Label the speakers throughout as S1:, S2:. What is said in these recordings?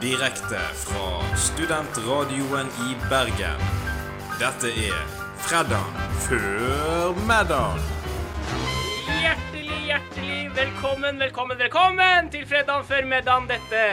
S1: Direkte fra studentradioen i Bergen. Dette er Fredag før middag.
S2: Hjertelig, hjertelig velkommen, velkommen, velkommen til fredagen før middagen. Dette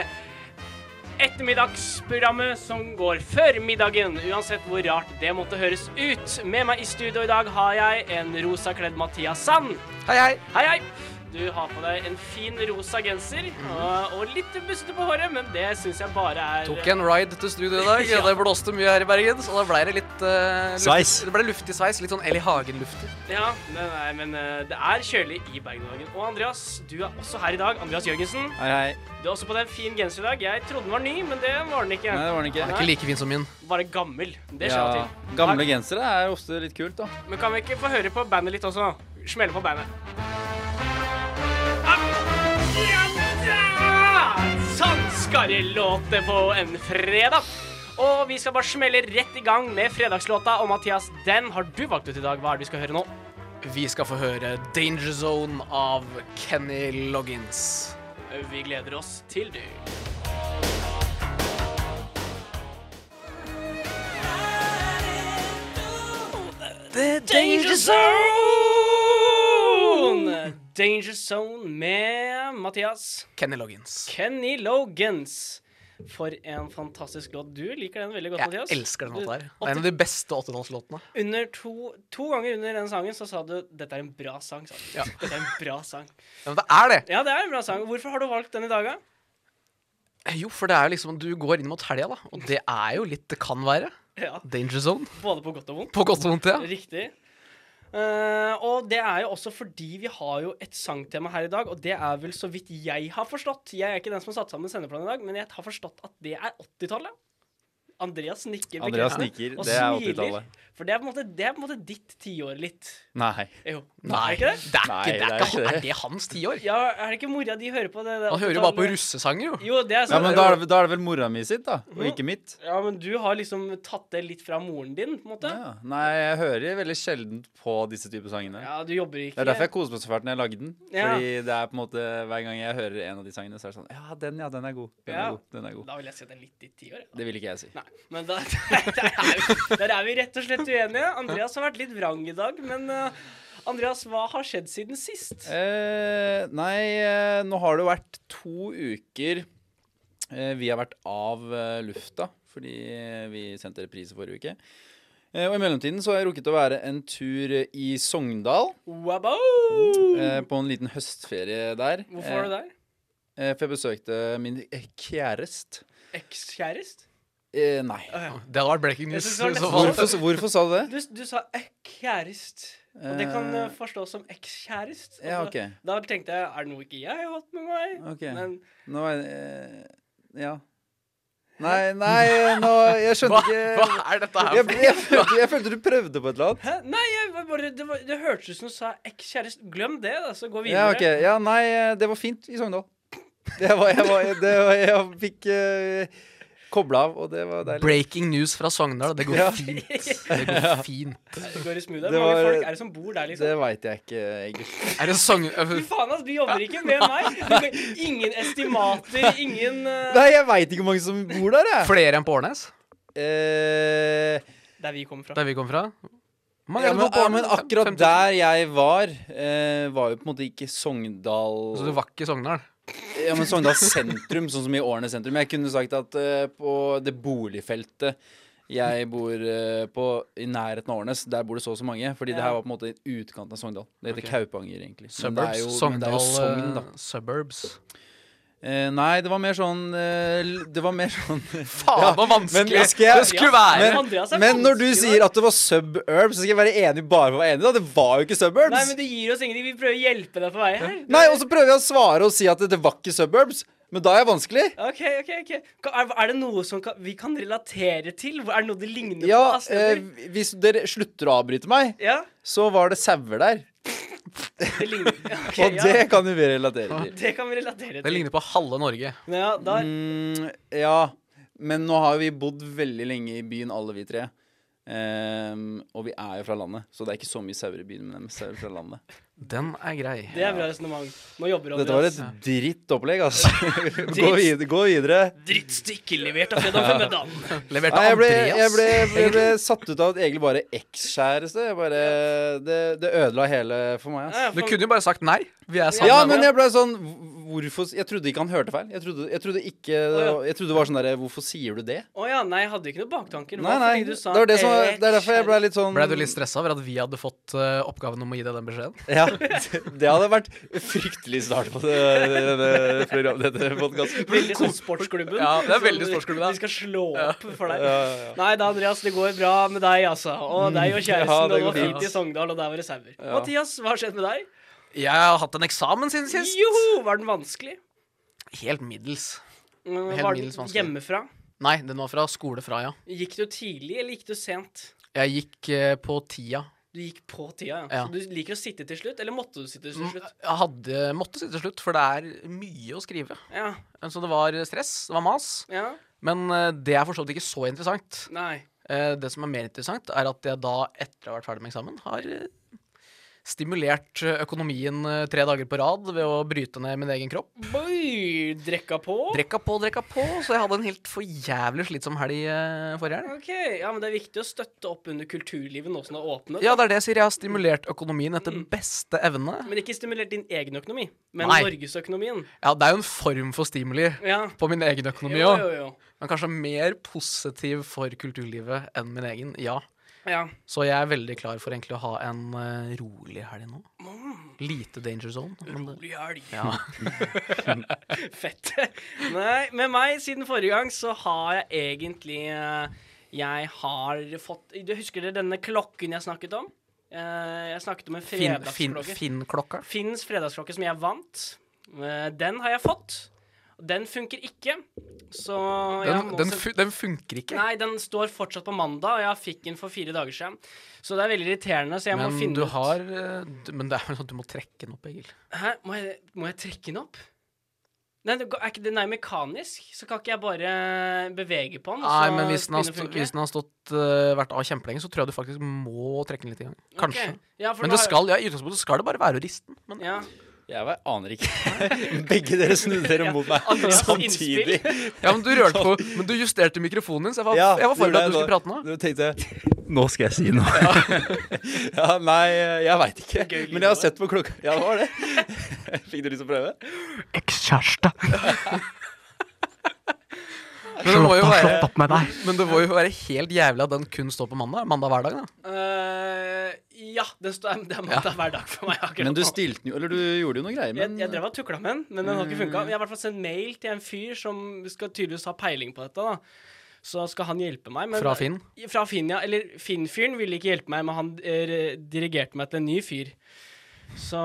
S2: ettermiddagsprogrammet som går før middagen, uansett hvor rart det måtte høres ut. Med meg i studio i dag har jeg en rosakledd Mathias Sand.
S3: Hei, hei.
S2: Hei, hei. Du har på deg en fin rosa genser
S3: Mhm.
S2: og, og litt bustete på håret, men det syns jeg bare er
S3: Tok en ride til studio i dag.
S2: Ja.
S3: Det blåste mye her i Bergen, så da ble det litt eh, luftig-
S4: Sveis.
S3: Det ble luftig sveis. Litt sånn Eli Hagen-luftig.
S2: Ja, nei, nei, men eh, det er kjølig i Bergen-dagen. Og Andreas, du er også her i dag. Andreas Jørgensen.
S4: Hei, hei.
S2: Du er også på deg en fin genser i dag. Jeg trodde den var ny, men det var den ikke.
S4: Nei, det var den ikke.
S3: Ikke like fin som min.
S2: Bare gammel. Det skjer
S4: Ja,
S2: av og til.
S4: gamle gensere er ofte litt kult, da.
S2: Men kan vi ikke få høre på bandet litt også? Smelle på bandet. Sånn skal det låte på en fredag. Og vi skal bare smelle rett i gang med fredagslåta. Og Mathias, den har du valgt ut i dag. Hva er det vi skal høre nå?
S3: Vi skal få høre Danger Zone av Kenny Loggins.
S2: Vi gleder oss til du. The Danger Zone! Danger Zone med Mathias.
S3: Kenny Loggins.
S2: Kenny Logans. For en fantastisk låt. Du liker den veldig godt,
S3: Jeg
S2: Mathias.
S3: elsker den
S2: Du-
S3: låta her. Det er en av de beste 80-tallslåtene.
S2: Under to, to ganger under den sangen så sa du 'dette er en bra sang'. Sa du.
S3: Ja.
S2: Dette er en bra sang.
S3: Ja, men det er det!
S2: Ja, det er en bra sang. Hvorfor har du valgt den i dag, da?
S3: Jo, for det er jo liksom Du går inn mot helga, da. Og det er jo litt det kan være.
S2: Ja,
S3: Danger Zone.
S2: Både på godt og vondt.
S3: På godt og vondt, ja.
S2: Riktig. Eh, og det er jo også fordi vi har jo et sangtema her i dag, og det er vel så vidt jeg har forstått. Jeg er ikke den som har satt sammen sendeplanen i dag, men jeg har forstått at det er 80-tallet. Andreas nikker.
S4: Andreas
S2: bekreftende,
S4: nikker,
S2: og
S4: det er
S2: smiler.
S4: 80-tallet.
S2: For det er, på en måte, det er på en måte ditt tiår litt.
S4: Nei.
S2: Jo.
S3: Nei,
S2: Er det ikke det?
S3: det er ikke,
S4: Nei,
S3: det er
S4: det er
S3: ikke,
S4: ikke
S3: er
S4: det.
S3: det hans tiår?
S2: Ja, er det ikke mora di hører på det? det
S3: Han hører jo bare på
S2: 80-tallet?
S3: russesanger, jo.
S2: Jo, det er
S4: Ja,
S2: sant.
S4: men da er, det, da er det vel mora mi sitt, da,
S2: Mhm.
S4: og ikke mitt.
S2: Ja, men du har liksom tatt det litt fra moren din, på en måte.
S4: Ja. Nei, jeg hører veldig sjelden på disse typer sangene.
S2: Ja, du jobber ikke
S4: Det er derfor jeg koser meg så fælt når jeg lagde den.
S2: Ja.
S4: Fordi det er på en måte hver gang jeg hører en av de sangene, så er det sånn Ja, den, ja, den er god. Den
S2: Ja.
S4: er god. Den er god.
S2: Da vil jeg si at det er litt ditt tiår. ja.
S4: Det vil ikke jeg si.
S2: Nei, men da, der, er vi, der er vi rett og slett uenige. Andreas har vært litt vrang i dag, men eh, Andreas, hva har skjedd siden sist?
S4: Eh, nei, eh, nå har det jo vært to uker eh, vi har vært av eh, lufta, fordi eh, vi sendte reprise forrige uke. Eh, og i mellomtiden så har jeg rukket å være en tur eh, i Sogndal,
S2: Wabo!
S4: eh, på en liten høstferie der.
S2: Hvorfor var du der?
S4: Eh, for jeg besøkte min eh, kjærest.
S2: Ekskjærest?
S4: Eh, nei.
S2: Å, ja.
S3: Det hadde vært breaking
S2: Jeg
S3: news.
S2: synes det var
S3: i så
S2: nesten-
S3: fall.
S4: Hvorfor, hvorfor sa du det?
S2: Du, du sa ekkjærest, og det kan eh, forstås som ekskjærest.
S4: Ja,
S2: Og
S4: OK.
S2: Da da tenkte jeg, er det noe ikke jeg har hatt med meg?
S4: ok.
S2: Men
S4: Nå er eh, Ja. Nei, nei, nå Jeg skjønte
S3: Hva,
S4: ikke
S3: hva er dette her
S4: jeg,
S3: for
S4: jeg, følte, jeg følte du prøvde på et eller annet.
S2: Hæ? Nei, jeg var bare, det, var, det hørtes ut som du sa ekskjæreste. Glem det, da, så gå videre.
S4: Ja, ok. Ja, nei, eh, det var fint i Sogndal. Det var, jeg, var, det var, jeg fikk uh, kobla av, og det var deilig.
S3: Breaking news fra Sogndal. Det går
S4: Ja.
S3: fint. Det går fint.
S2: Det går i smooth. her.
S4: Det
S2: Hvor mange
S4: var-
S2: folk er det som bor der, liksom?
S4: Det veit jeg ikke, egentlig.
S3: Er det Sogn...
S2: Fy faen, ass, du jobber ikke med meg. Ingen estimater, ingen eh,
S4: Nei, jeg veit ikke hvor mange som bor der, jeg.
S3: Flere enn på Årnes,
S4: Eh,
S2: Der vi kommer fra.
S3: der vi kom fra? Man,
S4: ja, men, ja, men akkurat der
S3: Så
S4: jeg var, eh, var jo på en måte ikke
S3: Altså, du
S4: Sogndal
S3: var ikke i Sogndal?
S4: Ja, men Sogndal sentrum, sånn som i årene sentrum. Jeg kunne sagt at eh, på det boligfeltet jeg bor eh, på i nærheten av Årnes, der bor det så og så mange. Fordi det
S2: Ja.
S4: her var på en måte i utkanten av Sogndal. Det heter
S3: Ok.
S4: Kaupanger, egentlig. Men det
S3: Suburbs?
S4: er jo, men det
S3: Sogndal
S4: er jo Sogn, da.
S3: eh, Suburbs.
S4: Eh, nei, det var mer sånn eh, l- Det var mer sånn
S3: Faen,
S4: Ja,
S3: så vanskelig
S4: men skal jeg-
S3: det skulle være!
S2: Men Andreas er
S4: Men når du
S2: vanskelig,
S4: sier
S2: da.
S4: at det var suburbs, så skal jeg være enig bare for å være enig, da. Det var jo ikke suburbs.
S2: Nei, men du gir oss ingenting. Vi prøver å hjelpe deg på vei her.
S4: Nei, og så prøver jeg å svare og si at det, det var ikke suburbs. Men da er jeg vanskelig.
S2: OK, OK. ok Ka- Er, er det noe som kan, vi kan relatere til? Er det noe det ligner
S4: Ja,
S2: på?
S4: eh,
S2: Astrid?
S4: hvis dere slutter å avbryte meg,
S2: ja,
S4: så var det sauer der.
S2: det ligner. Ok,
S4: Og
S2: ja,
S4: det kan jo vi relatere til.
S2: det kan vi relatere
S3: Det
S2: til.
S3: ligner på halve Norge.
S2: Ja, da,
S4: Mm, ja, men nå har vi bodd veldig lenge i byen, alle vi tre. Ehm, og vi er jo fra landet, så det er ikke så mye sauer i byen, men det er sauer fra landet.
S3: Den er grei.
S2: Det er bra resonnement. Nå jobber
S4: Dette var et
S2: Andreas.
S4: dritt opplegg, altså. gå, videre, gå videre.
S2: drittstykke levert av Fredag Femmedan.
S3: Levert
S4: Nei,
S3: av
S4: jeg ble,
S3: Andreas.
S4: jeg ble, jeg ble satt ut av at egentlig bare ekskjæreste. Jeg bare, det, det ødela hele for meg. ass.
S3: Du kunne jo bare sagt nei. Vi er sammen.
S4: Ja,
S2: Ja,
S4: men
S2: ja.
S4: jeg ble sånn Hvorfor Jeg trodde ikke han hørte feil. Jeg trodde, jeg trodde ikke
S2: Å,
S4: Jeg trodde det var sånn derre Hvorfor sier du det?
S2: Å ja, nei, jeg hadde ikke noen baktanker.
S4: Nei, nei. Det var det som var, det er derfor jeg ble litt sånn
S3: Ble du litt stressa over at vi hadde fått eh, oppgaven om å gi deg den beskjeden?
S4: Ja, det hadde vært fryktelig start på det, denne program- dette podkasten.
S2: Veldig sånn sportsklubben.
S3: Ja, det er veldig
S2: Sånn,
S3: sportsklubben, ja.
S2: De skal slå opp for deg.
S4: Ja, ja, ja.
S2: Nei da, Andreas, det går bra med deg, altså. Og deg og kjæresten,
S4: Ja,
S2: og
S4: det
S2: det
S4: går
S2: var fint
S4: fint.
S2: i Sogndal, og der var det sauer.
S4: Ja.
S2: Mathias, hva har skjedd med deg?
S3: Jeg har hatt en eksamen siden sist.
S2: Joho, var den vanskelig?
S3: Helt middels.
S2: Mm,
S3: Helt
S2: Var
S3: middels
S2: den
S3: vanskelig.
S2: hjemmefra?
S3: Nei, den var fra skole fra, ja.
S2: Gikk du tidlig, eller gikk du sent?
S3: Jeg gikk eh, på tida.
S2: Du gikk på tida, ja.
S3: Ja.
S2: Så du liker å sitte til slutt, eller måtte du sitte til
S3: Mm,
S2: slutt?
S3: Jeg hadde, måtte sitte til slutt, for det er mye å skrive.
S2: Ja,
S3: Så det var eh, stress, det var mas.
S2: ja,
S3: Men eh, det er for så vidt ikke så interessant.
S2: nei.
S3: Eh, Det som er mer interessant, er at jeg da, etter å ha vært ferdig med eksamen, har eh, stimulert eh, økonomien eh, tre dager på rad ved å bryte ned min egen kropp.
S2: Boi, drekka på?
S3: Drekka på, drekka på, så jeg hadde en helt for jævlig slitsom helg eh, forrige helg.
S2: Ok, ja, men det er viktig å støtte opp under kulturlivet nå som det har åpnet.
S3: Ja, det er det jeg sier. Jeg har stimulert økonomien etter
S2: Mm.
S3: beste evne.
S2: Men ikke stimulert din egen økonomi, men
S3: Nei.
S2: Norgesøkonomien.
S3: Ja, det er jo en form for stimuli
S2: Ja.
S3: på min egen økonomi
S2: Jo,
S3: òg.
S2: jo, jo.
S3: Men kanskje mer positiv for kulturlivet enn min egen, ja.
S2: Ja.
S3: Så jeg er veldig klar for egentlig å ha en eh, rolig helg nå. Lite danger zone.
S2: Mm.
S3: Men det,
S2: Rolig helg.
S3: ja.
S2: Fett. Nei, med meg siden forrige gang så har jeg egentlig eh, Jeg har fått Du husker dere denne klokken jeg snakket om? Eh, Jeg snakket om en
S3: Finn, fin,
S2: fredagsklokke.
S3: fin klokka.
S2: Finns fredagsklokke som jeg vant. Eh, Den har jeg fått. Den funker ikke, så jeg
S3: Den,
S2: må
S3: den,
S2: sette-
S3: fu den funker ikke.
S2: Nei, den står fortsatt på mandag, og jeg fikk den for fire dager siden. Så det er veldig irriterende, så jeg må
S3: Men
S2: finne
S3: du
S2: ut
S3: har eh, du- Men det er vel sånn at du må trekke den opp, Egil.
S2: Hæ, må jeg, må jeg trekke den opp? Nei, det går- er ikke den er mekanisk, så kan ikke jeg bare bevege på den. og
S3: Nei,
S2: så
S3: men hvis den
S2: begynner
S3: har, stå-
S2: å funke?
S3: hvis den har stått eh, vært av kjempelenge, så tror jeg du faktisk må trekke den litt i gang. Kanskje.
S2: Ok, Ja, for
S3: Men
S2: nå
S3: det
S2: har-
S3: skal, ja, i utgangspunktet skal det bare være å riste den. Men
S2: ja.
S4: Jeg var- aner ikke. Begge dere snudde dere mot meg
S2: Andreas'
S4: samtidig.
S3: Ja, men du rørte på Men du justerte mikrofonen din, så jeg var,
S4: Ja,
S3: jeg var
S4: det
S3: forberedt på at
S4: gjorde
S3: du
S4: jeg
S3: skulle prate nå.
S4: Da tenkte jeg Nå skal jeg si noe. ja, nei, jeg veit ikke.
S2: Gøy lyd
S4: Men jeg
S2: av
S4: har sett på klokka. Ja, det var det. Fikk du lyst til å prøve?
S5: Ekskjæreste,
S3: Men det, må jo
S5: slått
S3: være,
S5: opp med deg.
S3: men det må jo være helt jævlig at den kun står på mandag. Mandag hver dag, da.
S2: Øh, ja, den står, det er mandag hver dag for meg akkurat
S4: Men du
S2: nå.
S4: stilte den jo Eller du gjorde jo noe greier,
S2: Jeg,
S4: men
S2: jeg drev og tukla med den, men den har ikke funka. Jeg har i hvert fall sendt mail til en fyr som skal tydeligvis ha peiling på dette. da Så skal han hjelpe meg. Men
S3: Fra Finn?
S2: Fra Finn, ja. Eller Finn-fyren ville ikke hjelpe meg, men han eh, dirigerte meg til en ny fyr. Så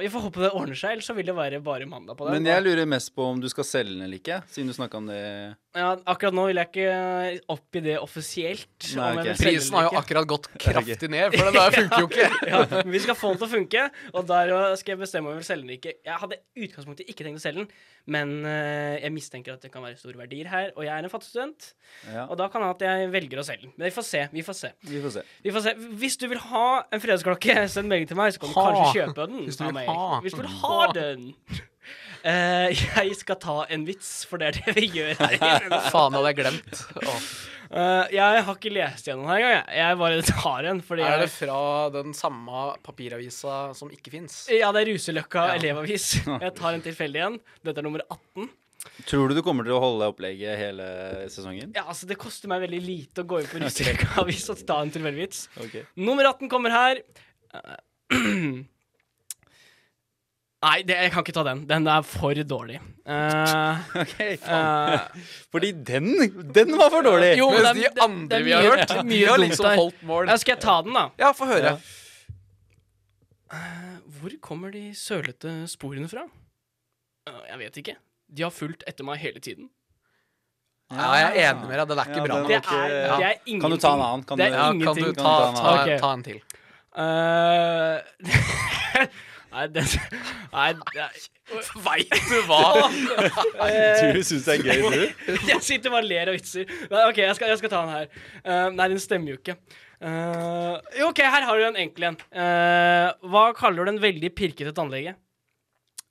S2: vi får håpe det ordner seg, ellers så vil det være bare mandag på den.
S4: Men jeg lurer mest på om du skal selge den eller ikke, siden du snakka om det
S2: ja, akkurat nå vil jeg ikke oppgi det offisielt.
S4: Nei,
S2: om jeg
S4: ok.
S2: vil selge
S3: Prisen har
S2: eller
S3: jo
S2: ikke.
S3: akkurat gått kraftig ned, for den der funker jo ikke.
S2: ja, men Vi skal få den til å funke, og der eh, skal jeg bestemme om jeg vil selge den eller ikke. Jeg hadde i utgangspunktet ikke tenkt å selge den, men eh, jeg mistenker at det kan være store verdier her, og jeg er en fattig student,
S4: Ja,
S2: og da kan det hende at jeg velger å selge den. Men vi får se. Vi får se.
S4: vi får se.
S2: Vi får se. Hvis du vil ha en fredagsklokke, send melding til meg, så kan du
S3: Ha.
S2: kanskje kjøpe den.
S3: Hvis du
S2: av
S3: vil
S2: meg.
S3: ha.
S2: Hvis du vil ha den. Eh, jeg skal ta en vits, for det er det vi gjør her. inne.
S3: Faen, hadde jeg glemt. Åh.
S2: Eh, jeg har ikke lest gjennom den her engang. jeg. Jeg bare tar en. Fordi
S3: Er det
S2: jeg,
S3: fra den samme papiravisa som ikke fins?
S2: ja, det er Ruseløkka
S3: Ja.
S2: elevavis. Jeg tar en tilfeldig en. Dette er nummer 18.
S4: Tror du du kommer til å holde opplegget hele sesongen?
S2: Ja, altså, det koster meg veldig lite å gå inn på Ruseløkka avis og ta en tilfeldig vits.
S4: Ok.
S2: Nummer 18 kommer her. Eh, Nei, det, jeg kan ikke ta den. Den er for dårlig. Eh,
S4: Ok, faen.
S2: eh,
S4: Fordi den, den var for dårlig!
S2: jo,
S3: Mens
S2: det
S3: de
S2: er- det-
S3: andre
S2: det er
S3: vi har
S2: mye-
S3: hørt,
S2: mye
S3: de har
S2: dumt
S3: liksom
S2: der.
S3: holdt mål.
S2: Ja, skal jeg ta den, da?
S3: Ja, få høre.
S4: Ja.
S2: Hvor kommer de sølete sporene fra? Eh, jeg vet ikke. De har fulgt etter meg hele tiden.
S3: Ja, jeg er enig med deg. Det er
S4: Ja,
S3: ikke bra
S4: den
S3: nok.
S2: Det er,
S4: var ikke- ja.
S2: det er ingenting.
S4: Kan du ta en annen? Kan
S2: Det
S4: du-
S2: er
S3: Ja, kan du
S2: ingenting.
S3: ta, ta,
S2: Ok.
S3: ta en til?
S2: Eh, Nei, den Nei, det-
S3: Veit du hva?
S4: Tror du syns det er gøy, du?
S2: Jeg sitter bare og ler av vitser. Nei, OK, jeg skal, jeg skal ta den her. Eh, nei, den stemmer jo ikke. Eh, jo, OK, her har du en enkel en. Eh, hva kaller du en veldig pirkete tannlege?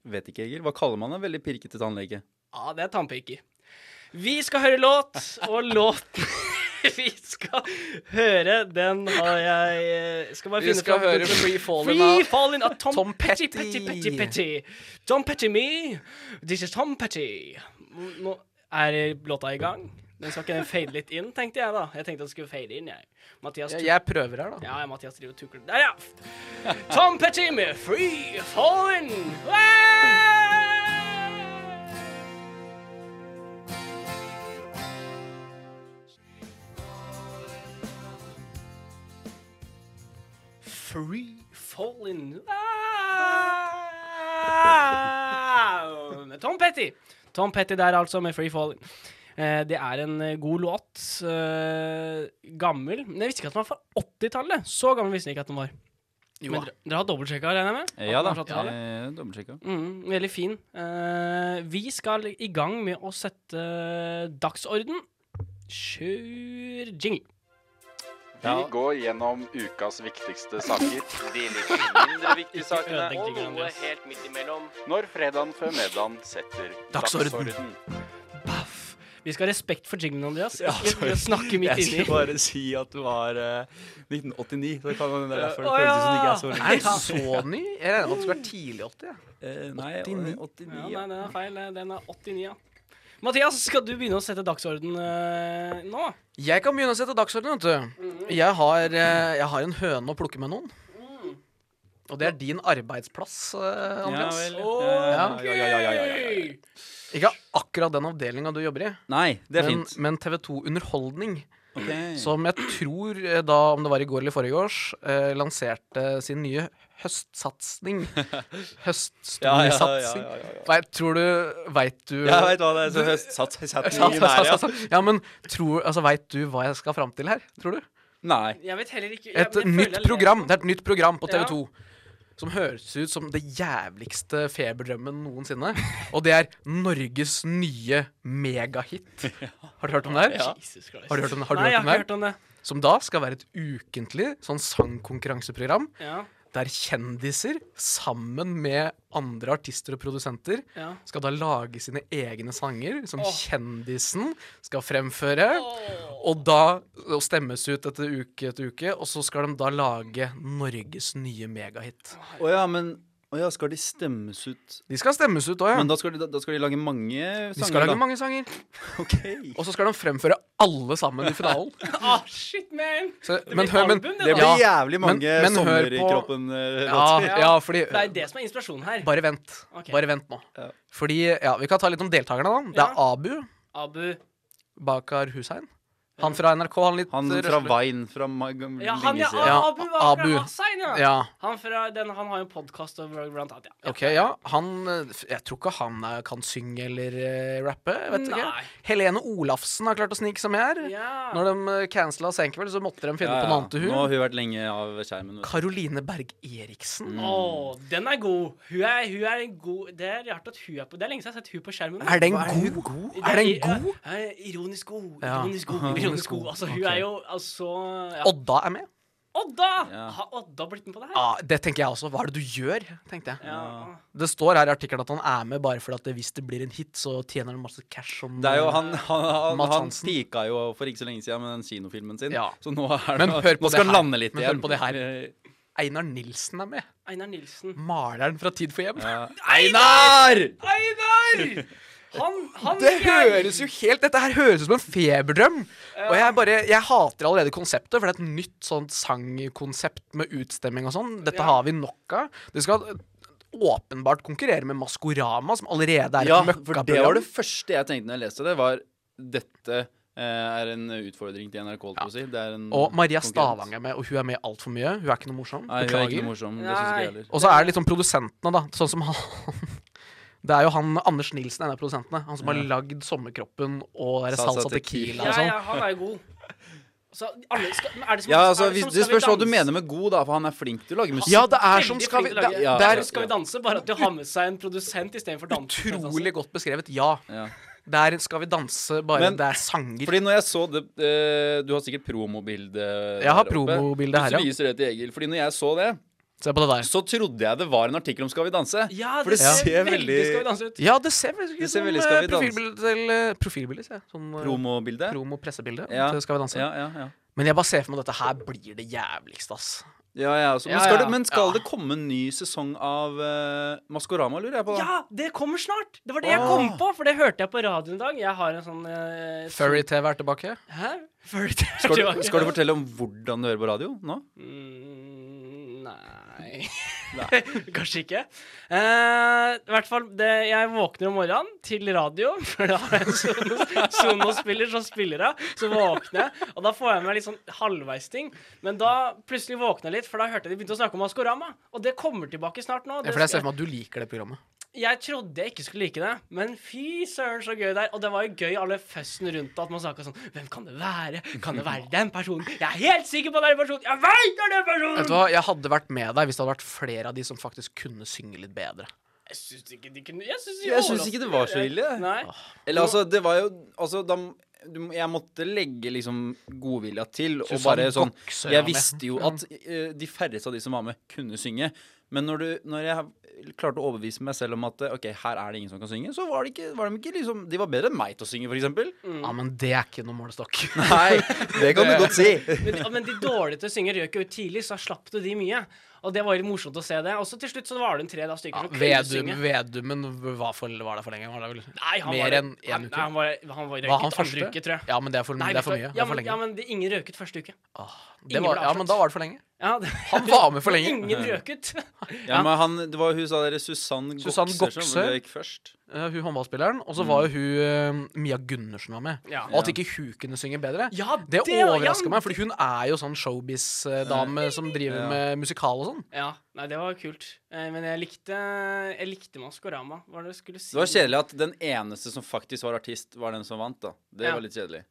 S4: Vet ikke, Egil. Hva kaller man en veldig pirkete tannlege?
S2: Ja, det er tannpirker. Vi skal høre låt, og låten vi skal høre, den har jeg eh, Skal bare
S3: Vi
S2: finne
S3: skal
S2: fram-
S3: høre Free Fallen
S2: Free
S3: av
S2: Falling av Tom,
S3: Tom
S2: Petty. Petty,
S3: Petty.
S2: Petty, Petty. Tom Petty me. This is Tom Petty. Nå er låta i gang. Den skal ikke den fade litt inn, tenkte jeg da. Jeg tenkte at den skulle fade inn, jeg. Mathias
S3: Ja,
S2: tuk-
S3: Jeg prøver her, da.
S2: ja, Mathias driver og tukler. Der, ja! Tom Petty med Free Falling. Free Falling. Tom Petty. Tom Petty der, altså, med Free Falling. Eh, Det er en eh, god låt. eh, gammel. Men jeg visste ikke at den var fra 80-tallet. Så gammel visste jeg ikke at den var.
S3: Jo
S2: Men
S3: da.
S2: dere, dere har dobbeltsjekka, regner jeg med? At
S4: Ja
S2: den
S4: da.
S2: er fra 80-tallet?
S4: Eh, Dobbeltsjekka.
S2: Mm, veldig fin. Eh, vi skal i gang med å sette dagsorden. Kjør jingle.
S5: Vi går gjennom ukas viktigste saker. De litt mindre viktige sakene.
S2: Ødelegg
S5: Og
S2: jinglen,
S5: noe
S2: Andreas.
S5: helt midt imellom. Når fredagen før middagen setter
S3: Dagsorden.
S2: Baff. Vi skal ha respekt for jinglen, Andreas. Ikke snakke midt
S6: Jeg
S2: inni.
S6: skulle bare si at du var eh, 1989. Så kan man, det er derfor det
S2: Å,
S6: føles ut som det ikke
S2: ja.
S6: er så
S3: Er
S6: lenge.
S3: den så ny? Jeg regner med at det skulle være tidlig 80. jeg.
S6: Eh, nei,
S3: 89.
S6: 89
S2: Ja,
S6: ja.
S2: nei, den er feil. Den er 89, ja. Mathias, skal du begynne å sette dagsorden eh, nå?
S3: Jeg kan begynne å sette dagsorden, vet du.
S6: Mhm.
S3: Jeg har, eh, jeg har en høne å plukke med noen.
S6: Mm.
S3: Og det er din arbeidsplass, eh, Andreas.
S6: Ja, ja, ja, ja, ja, ja, ja, ja.
S2: Gøy!
S3: Ikke akkurat den avdelinga du jobber i,
S4: Nei, det er
S3: men,
S4: fint.
S3: men TV2 Underholdning,
S4: Ok.
S6: Mm.
S3: som jeg tror eh, da, om det var i går eller forrige års, eh, lanserte sin nye høstsatsing.
S6: Ja, ja,
S3: Høststudiesatsing.
S6: ja, ja, ja, ja.
S3: Nei, tror du Veit du
S6: Jeg vet hva det er. Så høst, satt, satt,
S3: Ja,
S6: i været, ja.
S3: ja, men tror, altså, veit du hva jeg skal fram til her? Tror du?
S4: Nei.
S2: Jeg vet heller ikke jeg-
S3: Et
S2: jeg føler jeg
S3: nytt
S2: leser-
S3: program. Det er et nytt program på
S2: Ja.
S3: TV 2. Som høres ut som det jævligste feberdrømmen noensinne. Og det er Norges nye megahit. Har du hørt om det her?
S2: Jesus Christ.
S3: Har du hørt om det? Har du
S2: Nei,
S3: hørt
S2: jeg
S3: om
S2: har ikke
S3: det?
S2: hørt om det.
S3: Som da skal være et ukentlig sånn sangkonkurranseprogram
S2: Ja,
S3: der kjendiser sammen med andre artister og produsenter
S2: ja.
S3: skal da lage sine egne sanger som
S2: Åh.
S3: kjendisen skal fremføre. Og da og stemmes ut etter uke etter uke, og så skal de da lage Norges nye megahit.
S4: Å ja, men å ja, skal de stemmes ut?
S3: De skal stemmes ut òg, ja.
S4: Men da skal de, da, da skal de lage mange sanger?
S3: De skal lage
S4: da.
S3: mange sanger.
S4: Ok.
S3: Og så skal de fremføre alle sammen i finalen.
S2: Ah, shit, man!
S3: Så,
S2: Det
S3: men
S2: blir
S3: hør, men
S2: album, det da.
S4: Det blir
S3: ja,
S4: jævlig mange
S3: men- men hør
S4: sommer i
S3: på-
S4: kroppen. eh,
S3: ja,
S4: låter.
S3: ja, fordi
S2: Det er det som er inspirasjonen her.
S3: Bare vent.
S2: Ok.
S3: Bare vent nå.
S4: Ja.
S3: Fordi, ja, Vi kan ta litt om deltakerne, da. Det er
S2: Ja.
S3: Abu
S2: Abu.
S3: Bakar Hussein. Han fra NRK, han litt
S4: Han
S3: eh,
S4: fra
S3: røsle-
S4: Vine fra ma- gam-
S2: Ja, han
S4: Mm, lenge
S2: ja,
S4: siden.
S3: Ja,
S2: Abu var
S3: Abu.
S2: fra Hasein, ja.
S3: Ja,
S2: Han, fra, den, han har jo en podkast og bl- blant annet, ja.
S3: Ok, ja. Han eh, f- Jeg tror ikke han eh, kan synge eller eh, rappe. jeg
S2: Nei.
S3: Vet ikke. Helene Olafsen har klart å snike seg med her.
S2: Ja.
S3: Når de eh, cancela Senkveld, så måtte de finne på noe annet til
S4: Nå
S3: hun.
S4: har hun vært lenge av skjermen. vet du.
S3: Karoline Berg Eriksen.
S2: Å, den er god. Hun er, hun er en god Det er rart at hun er på Det er lenge siden jeg har sett hun på skjermen.
S3: Er den
S4: Hva, er hun
S3: god? Er den god?
S2: Ja, ja, ironisk god.
S3: Ja.
S2: Ironisk god.
S3: Ja,
S2: Ironisk
S3: ironisk
S2: god. Altså,
S3: god.
S2: hun
S3: Ok.
S2: er jo altså ja.
S3: Odda er med.
S2: Odda!
S4: Ja.
S2: Har Odda blitt med på det her?
S3: Ja, det tenker jeg også. Hva er det du gjør? tenkte jeg.
S2: Ja.
S3: Det står her i artikkelen at han er med bare fordi at det- hvis det blir en hit, så tjener han masse cash som
S4: Det er jo han han, han,
S3: Mads
S4: han
S3: Hansen.
S4: pika jo for ikke så lenge siden med den kinofilmen sin.
S3: Ja.
S4: Så nå, er det,
S3: Men hør på
S4: nå skal
S3: det
S4: han
S3: her.
S4: lande litt
S3: Men hør
S4: igjen.
S3: på det her. eh, Einar Nilsen er med.
S2: Einar Nilsen.
S3: Maleren fra Tid for hjem.
S4: Ja.
S3: Einar!
S2: Einar! Han, han
S3: Det
S2: skal-
S3: høres jo helt Dette her høres ut som en feberdrøm. Og jeg bare, jeg hater allerede konseptet, for det er et nytt sånt sangkonsept med utstemming og sånn. Dette
S2: Ja.
S3: har vi nok av. Det skal åpenbart konkurrere med Maskorama, som allerede er
S4: Ja,
S3: et
S4: for det var
S3: møkkaprogram.
S4: det første jeg tenkte når jeg leste det, var dette eh, er en utfordring til NRK, holdt på å si. Det er en
S3: Og Maria
S4: konkurrent.
S3: Stavang er med, og hun er med altfor mye. Hun er ikke noe morsom.
S4: Nei, hun er ikke noe
S3: Beklager.
S4: morsom. Det syns ikke
S2: Nei.
S4: jeg heller.
S3: Og så er det liksom produsentene, da. Sånn som han Det er jo han Anders Nilsen, en av produsentene. Han som har lagd Sommerkroppen og der
S4: Salsa
S3: Salsa
S4: Tequila.
S3: Tequila og
S2: Ja,
S3: sånn.
S2: ja, han er jo god. Så alle skal, men er det som,
S4: Ja, altså,
S2: er det
S4: hvis,
S2: som
S4: Det
S2: skal vi
S4: spørs hva du
S2: danse?
S4: mener med god, da, for han er flink til å lage musikk.
S3: Ja, det er som
S2: Veldig
S3: skal vi
S2: flink til å
S3: det-
S2: lage-
S4: ja,
S3: det er
S2: Skal vi danse? Bare at du har med seg en produsent istedenfor danser.
S3: Utrolig godt beskrevet. Ja.
S4: Ja.
S3: Der skal vi danse, bare
S4: Men-
S3: det er sanger.
S4: Fordi når jeg så det eh, Du har sikkert promobilde
S3: Jeg har
S4: der oppe.
S3: promobildet her,
S4: Hvis du
S3: ja.
S4: viser det til Egil. Fordi når jeg så det,
S3: Se på det der.
S4: så trodde jeg det var en artikkel om Skal vi danse.
S2: Ja,
S4: For det
S3: Ja.
S4: ser
S2: veldig Skal vi
S4: veldig
S2: danse ut.
S3: Ja, det ser veldig
S4: Det
S3: ut
S4: ser
S3: som
S4: veldig Skal
S3: eh,
S4: vi danse.
S3: profilbilde til eh, Profilbilde, sier jeg. Sånn eh,
S4: Promobilde.
S3: promo-pressebilde
S4: Ja.
S3: til Skal vi danse.
S4: Ja, ja, ja.
S3: Men jeg bare ser for meg at dette her blir det jævligste, ass.
S4: Ja, ja, altså. Men
S3: Ja,
S4: skal,
S3: ja.
S4: Det, men skal
S3: Ja.
S4: det komme en ny sesong av eh, Maskorama, lurer jeg på? da?
S2: Ja, det kommer snart! Det var det jeg
S4: Åh.
S2: kom på, for det hørte jeg på radioen i dag. Jeg har en sånn eh,
S3: Furry-TV er tilbake.
S2: Hæ? Furry TV?
S4: Skal, du, skal du fortelle om hvordan du hører på radio nå?
S2: Mm, Nei Kanskje ikke. Eh, I hvert fall, det, jeg våkner om morgenen til radio, for da har jeg en Sonos- Sonos-spiller som spiller av. Så våkner jeg, og da får jeg med litt sånn halvveis-ting. Men da plutselig våkner jeg litt, for da hørte jeg de begynte å snakke om Maskorama. Og det kommer tilbake snart nå.
S3: Ja,
S2: Det
S3: for jeg
S2: skal-
S3: ser for meg at du liker det programmet.
S2: jeg trodde jeg ikke skulle like det, men fy søren så gøy det er. Og det var jo gøy alle føssen rundt at man snakka sånn Hvem kan det være? Kan det være den personen? Jeg er helt sikker på at det er den personen! Jeg veit det er den
S3: Vet du
S2: personen!
S3: hva, Jeg hadde vært med deg hvis det hadde vært flere av de som faktisk kunne synge litt bedre.
S2: Jeg syns ikke de kunne Jeg syns, de
S4: Jeg syns
S2: overraskende
S4: ikke det var så
S2: gjorde
S4: ille. jeg.
S2: Nei.
S4: Eller altså, det var jo Altså, da du, må- Jeg måtte legge liksom godvilja til, og
S3: Susanne
S4: bare sånn
S3: Goksøy var
S4: Jeg
S3: med.
S4: visste jo at eh, de færreste av de som var med, kunne synge. Men når, du, når jeg klarte å overbevise meg selv om at eh, OK, her er det ingen som kan synge, så var de ikke, var de ikke liksom De var bedre enn meg til å synge, for eksempel.
S2: Mm.
S3: Ja, men det er ikke noen målestokk.
S4: Nei, det kan du godt si.
S2: Men, de- men de dårlige til å synge røk jo ut tidlig, så da slapp du de mye. Og det var litt morsomt å se det. Og så til slutt så var det en tre da
S3: Ja,
S2: stykker som kunne
S3: Vedum,
S2: synge.
S3: Vedumen var, for, var der for lenge. Var det vel?
S2: Nei, han
S3: Mer
S2: var,
S3: enn én
S2: han-
S3: uke.
S2: Nei, han var, han var
S3: Var han
S2: røyket andre
S3: første?
S2: uke, tror jeg.
S3: Ja, men det er for,
S2: Nei,
S3: det er for
S2: vet du hva?
S3: mye. Det
S2: Ja,
S3: er for
S2: men, ja,
S3: lenge.
S2: men de, ingen røket første uke.
S3: Det
S2: ingen
S3: var,
S2: ble
S3: ja, men da var det for lenge.
S2: Ja, det,
S3: Han var med for lenge.
S2: ingen røket.
S4: Ja, men han, det var hun sa dere Susann
S3: Susann
S4: Goksør som
S3: Goksøy.
S4: gikk først.
S3: Eh, hun håndballspilleren. Og så var jo hun eh, Mia Gundersen var med.
S2: Ja.
S3: Og at ikke hun kunne synge bedre,
S2: Ja,
S3: det
S2: det- ja,
S3: overraska
S2: men-
S3: meg. For hun er jo sånn showbiz-dame som driver
S4: Ja.
S3: med musikal og sånn.
S2: Ja, nei, det var kult. Eh, men jeg likte, jeg likte Maskorama. Hva var det jeg skulle si?
S4: Det var kjedelig at den eneste som faktisk var artist, var den som vant, da. Det
S2: Ja.
S4: var litt kjedelig.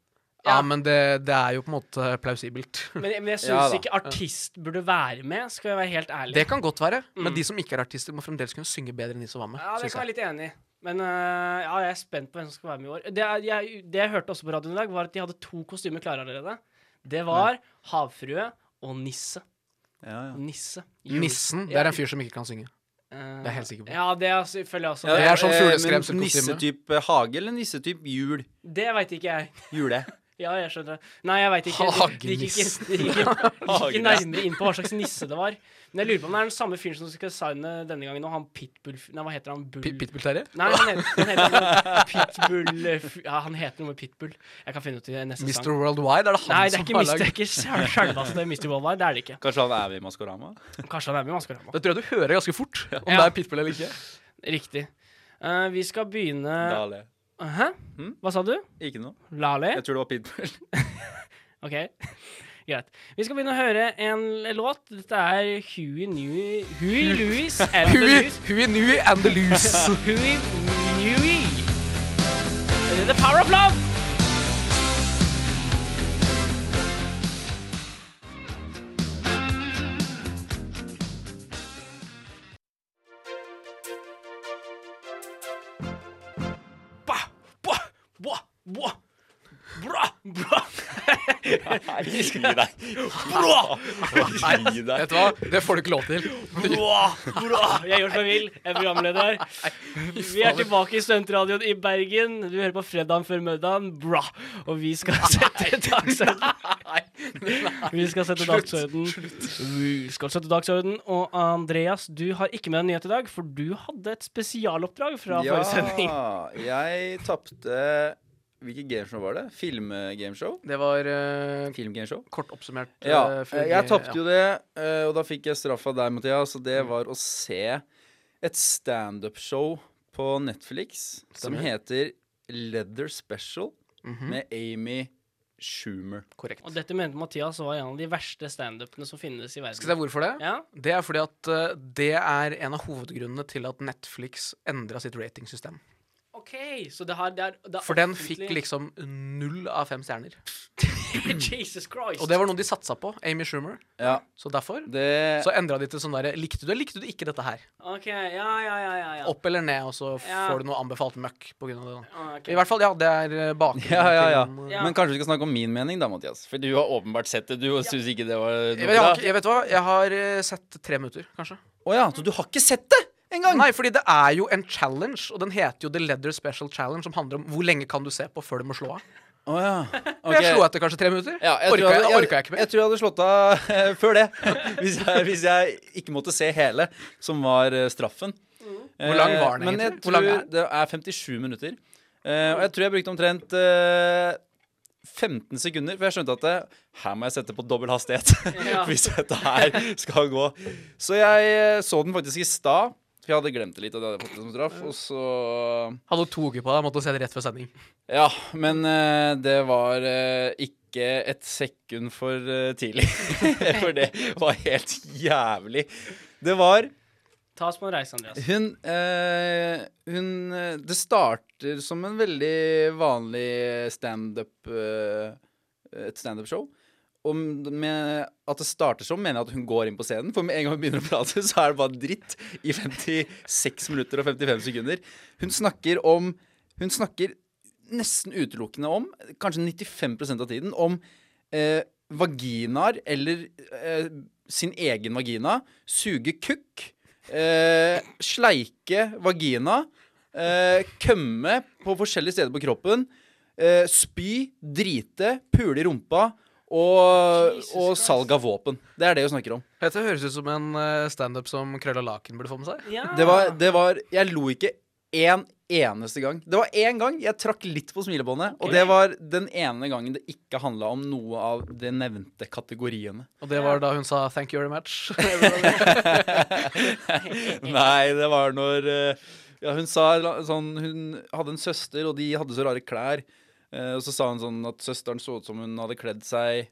S3: Ja,
S2: Ja.
S3: men det, det er jo på en måte plausibelt.
S2: Men, men jeg syns
S4: Ja da.
S2: ikke artist burde være med, skal jeg være helt ærlig.
S3: Det kan godt være, men de som ikke er artister, må fremdeles kunne synge bedre enn de som var med.
S2: Mm. ja, det
S3: synes
S2: kan jeg
S3: jeg.
S2: være litt enig i. Men eh, ja, jeg er spent på hvem som skal være med i år. Det jeg, jeg, det jeg hørte også på radioen i dag, var at de hadde to kostymer klare allerede. Det var havfrue og nisse.
S4: Ja, ja.
S2: Nisse. Jul-
S3: Nissen det er en fyr som ikke kan synge.
S2: Eh,
S3: er jeg helt sikker på.
S2: Ja, det er selvfølgelig også.
S4: Ja,
S3: Det er sånn
S4: eh, men
S3: fugleskremselkostyme.
S4: Nissetype hage eller nissetype jul?
S2: Det veit ikke jeg.
S4: Jule.
S2: Ja, jeg skjønner det. Nei, jeg veit ikke. De gikk ikke, de
S3: Hagenissen.
S2: gikk ikke, de gikk ikke nærmere inn på hva slags nisse det var. Men jeg lurer på om det er den samme fyren som skal designe denne gangen, og han Pitbull Nei, hva heter han? Bull...
S3: Pi- Pitbull-Terje?
S2: Nei, han heter, han heter noe Pitbull eh, f- Ja, han heter noe med Pitbull. Jeg kan finne ut i neste
S3: Mr.
S2: sang.
S3: Worldwide? Er det han
S2: Nei, det er
S3: som
S2: ikke
S3: har
S2: Mr.
S3: lagd
S2: Ikke sjel- sjølvaste det er Mr. Worldwide. Det er det ikke.
S4: Kanskje han er med i Maskorama?
S2: Kanskje han er med i Maskorama.
S3: Det tror jeg du hører ganske fort, om
S2: Ja.
S3: det er Pitbull eller ikke.
S2: Riktig. Eh, vi skal begynne
S4: Dale.
S2: Hæ?
S3: Hm?
S2: Hva sa du?
S4: Ikke noe.
S2: Lali?
S4: Jeg tror det var Pitbull.
S2: OK. Greit. Vi skal begynne å høre en låt. Dette er Huey Newey Huey Louis and the
S3: Huey,
S2: News.
S3: Huey Newey and the Loose.
S2: Huey Newey. The power of love! Ba, ba, ba, ba. Bra, bra.
S4: Gi deg.
S2: Bra,
S4: Gi
S3: Vet du hva, det får du ikke lov til.
S2: bra, bra. Jeg gjør som jeg vil. Jeg er programleder. Vi er tilbake i Stuntradioen i Bergen. Du hører på Fredagen før middagen, bra. Og vi skal sette dagsorden. Vi skal sette dagsorden. Vi skal sette dagsorden. Og Andreas, du har ikke med deg en nyhet i dag, for du hadde et spesialoppdrag fra
S4: Ja,
S2: forrige sending.
S4: jeg tapte Hvilket gameshow var det? Filmgameshow?
S3: Det var eh,
S4: Filmgameshow?
S3: kort oppsummert.
S4: Ja.
S3: eh, før vi-
S4: Jeg tapte
S3: ja.
S4: jo det, eh, og da fikk jeg straff av deg, Mathias. Og det var å se et standup-show på Netflix som
S3: Stemmer.
S4: heter Leather Special
S3: Mhm.
S4: med Amy Schumer.
S3: Korrekt.
S2: Og dette mente Mathias var en av de verste standupene som finnes i
S3: Skal jeg
S2: verden.
S3: si hvorfor det?
S2: Ja,
S3: Det er fordi at eh, det er en av hovedgrunnene til at Netflix endra sitt ratingsystem.
S2: OK. Så det har det er, det er
S3: For den liksom
S2: offentlig-
S3: fikk liksom null av fem stjerner.
S2: Jesus Christ.
S3: Og det var noe de satsa på. Amy Schumer.
S4: Ja,
S3: Så derfor
S4: det
S3: så endra de til sånn derre Likte du det, likte du ikke dette her?
S2: OK, ja, ja, ja, ja. ja.
S3: Opp eller ned, og så
S2: Ja.
S3: får du noe anbefalt møkk på grunn av det. da.
S2: Ah, ok.
S3: I hvert fall, ja, det er eh, bakgrunnen
S4: ja, ja, ja.
S3: til den, eh,
S2: Ja.
S4: Men kanskje vi skal snakke om min mening, da, Mathias. For du har åpenbart sett det, du, og syns ikke det var
S3: Jeg, vet- jeg,
S4: noe bra.
S3: har ikke- jeg vet hva, jeg har eh, sett tre minutter, kanskje.
S4: Å ja, så du har ikke sett det engang?
S3: Nei, fordi det er jo en challenge, og den heter jo The Leather Special Challenge, som handler om hvor lenge kan du se på før du må slå av.
S4: Å ja.
S3: Og Jeg
S4: ok.
S3: slo etter kanskje tre minutter.
S4: Ja, jeg,
S3: orka,
S4: tror jeg,
S3: jeg,
S4: hadde-
S3: orka jeg ikke
S4: jeg,
S3: mer.
S4: tror jeg hadde slått av eh, før det. Hvis jeg, hvis jeg ikke måtte se hele, som var eh, straffen.
S3: Mm. Hvor lang
S4: Eh,
S3: var den
S4: Men jeg
S3: egentlig? Hvor
S4: tror
S3: lang er den?
S4: det er 57 minutter. Eh, og jeg tror jeg brukte omtrent eh, 15 sekunder, for jeg skjønte at eh, her må jeg sette på dobbel hastighet
S2: Ja.
S4: hvis dette her skal gå. Så jeg eh, så den faktisk i stad, for jeg hadde glemt det litt. Og det hadde jeg fått det som straff,
S3: Mm.
S4: og så
S3: Hadde jo to uker på deg, måtte se det rett før sending.
S4: ja, men eh, det var eh, ikke et sekund for eh, tidlig. for det var helt jævlig. Det var
S2: Ta oss på en reise, Andreas.
S4: Hun, eh, hun eh, Det starter som en veldig vanlig standup eh, Et standup-show. Og med at det starter sånn, mener jeg at hun går inn på scenen. For med en gang hun begynner å prate, så er det bare dritt i 56 minutter og 55 sekunder. Hun snakker om Hun snakker nesten utelukkende om, kanskje 95 av tiden, om eh, vaginaer eller eh, sin egen vagina, suge kukk, eh, sleike vagina, eh, kømme på forskjellige steder på kroppen, eh, spy, drite, pule i rumpa og,
S2: Jesus
S4: og
S2: Christ.
S4: salg av våpen. Det er det hun snakker om.
S3: Dette høres ut som en eh, standup som Krølla Laken burde få med seg.
S2: Ja.
S4: Det var, det var Jeg lo ikke én eneste gang. Det var én gang jeg trakk litt på smilebåndet, og det var den ene gangen det ikke handla om noe av de nevnte kategoriene.
S3: Og det var da hun sa 'thank you very much'.
S4: Nei, det var når eh, Ja, hun sa la- sånn Hun hadde en søster, og de hadde så rare klær. Eh, og så sa hun sånn at søsteren så ut som hun hadde kledd seg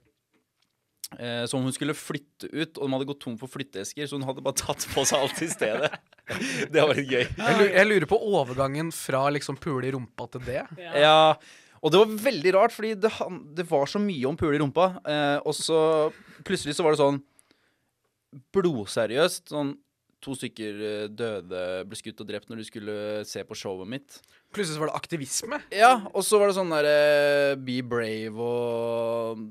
S4: eh, som hun skulle flytte ut, og de hadde gått tom for flytteesker, så hun hadde bare tatt på seg alt i stedet. det var litt gøy.
S3: Jeg lurer, jeg lurer på overgangen fra liksom pule i rumpa til det.
S2: Ja.
S4: Ja, og det var veldig rart, fordi det, han- det var så mye om pule i rumpa. Eh, og så plutselig så var det sånn blodseriøst. Sånn to stykker eh, døde, ble skutt og drept når de skulle se på showet mitt.
S3: Plutselig så var det aktivisme.
S4: Ja, og så var det sånn derre Be brave og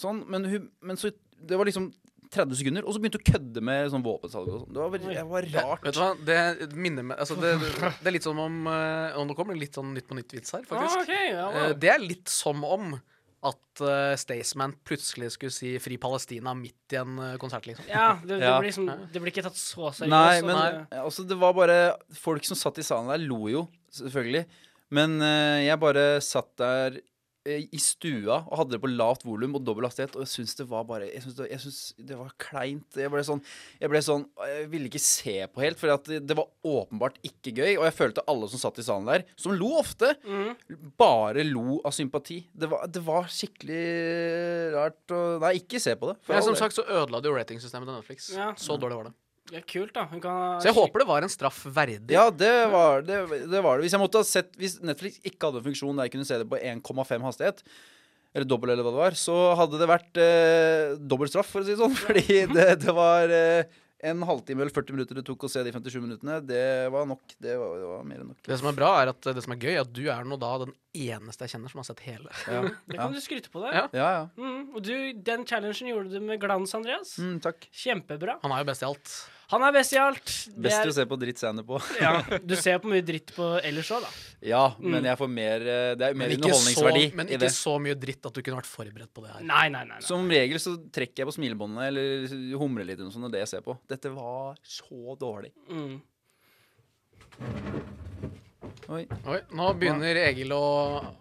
S4: sånn. Men, hun, men så Det var liksom 30 sekunder, og så begynte hun å kødde med sånn våpensalg og sånn. Det var veldig det var rart.
S3: Vet du hva, Det minner meg altså det, det er litt som om eh, Nå kommer det litt sånn Nytt på nytt-vits her,
S2: Ah,
S3: faktisk.
S2: ok, ja, wow.
S3: Eh, Det er litt som om at eh, Staysman plutselig skulle si 'Fri Palestina' midt i en eh, konsert, liksom.
S2: ja, det, det,
S4: Ja.
S2: blir liksom, det blir ikke tatt så seriøst.
S4: Nei,
S2: og
S4: men
S2: det-
S4: eh, altså, det var bare Folk som satt i salen der, lo jo, selvfølgelig. Men eh, jeg bare satt der eh, i stua og hadde det på lavt volum og dobbel hastighet, og jeg syns det var bare Jeg syns det, jeg syns det var kleint. Jeg ble sånn Jeg ble sånn Jeg ville ikke se på helt, for det, det var åpenbart ikke gøy. Og jeg følte alle som satt i salen der, som lo ofte,
S2: Mhm.
S4: bare lo av sympati. Det var, det var skikkelig rart. Og, nei, ikke se på det. for
S3: Men
S4: all
S3: som
S4: del.
S3: sagt så ødela det jo ratingsystemet til Netflix.
S2: Ja.
S3: Så dårlig var det.
S2: Ja, kult, da. Hun kan
S3: Så jeg håper det var en straff verdig.
S4: Ja, det var det, det var det. Hvis jeg måtte ha sett Hvis Netflix ikke hadde en funksjon der jeg kunne se det på 1,5 hastighet, eller dobbel eller hva det var, så hadde det vært eh, dobbel straff, for å si det sånn. Fordi det, det var eh, en halvtime eller 40 minutter det tok å se de 57 minuttene. Det var nok. Det var, det var mer enn nok.
S3: Det som er bra, er at eh, det som er gøy, er at du er nå da den eneste jeg kjenner som har sett hele.
S4: Ja,
S2: Det
S4: ja.
S2: kan du skryte på deg.
S3: Ja.
S4: ja. ja.
S2: Mm, og du, den challengen gjorde du med glans, Andreas.
S4: Mm, takk.
S2: Kjempebra.
S3: Han er jo best i alt.
S2: Han er best i alt. Det
S4: Best
S2: er-
S4: å se på dritt standup på.
S2: ja, du ser på mye dritt på ellers òg, da.
S4: Ja, men jeg får mer eh, Det er
S3: Men
S4: mer
S3: ikke, så,
S4: underholdningsverdi
S3: men
S4: i
S3: ikke
S4: det.
S3: så mye dritt at du kunne vært forberedt på det her.
S2: Nei, nei, nei. nei.
S4: Som regel så trekker jeg på smilebåndet eller humrer litt eller noe sånt når det jeg ser på. Dette var så dårlig.
S2: Mm.
S4: Oi.
S3: Oi, nå begynner Egil å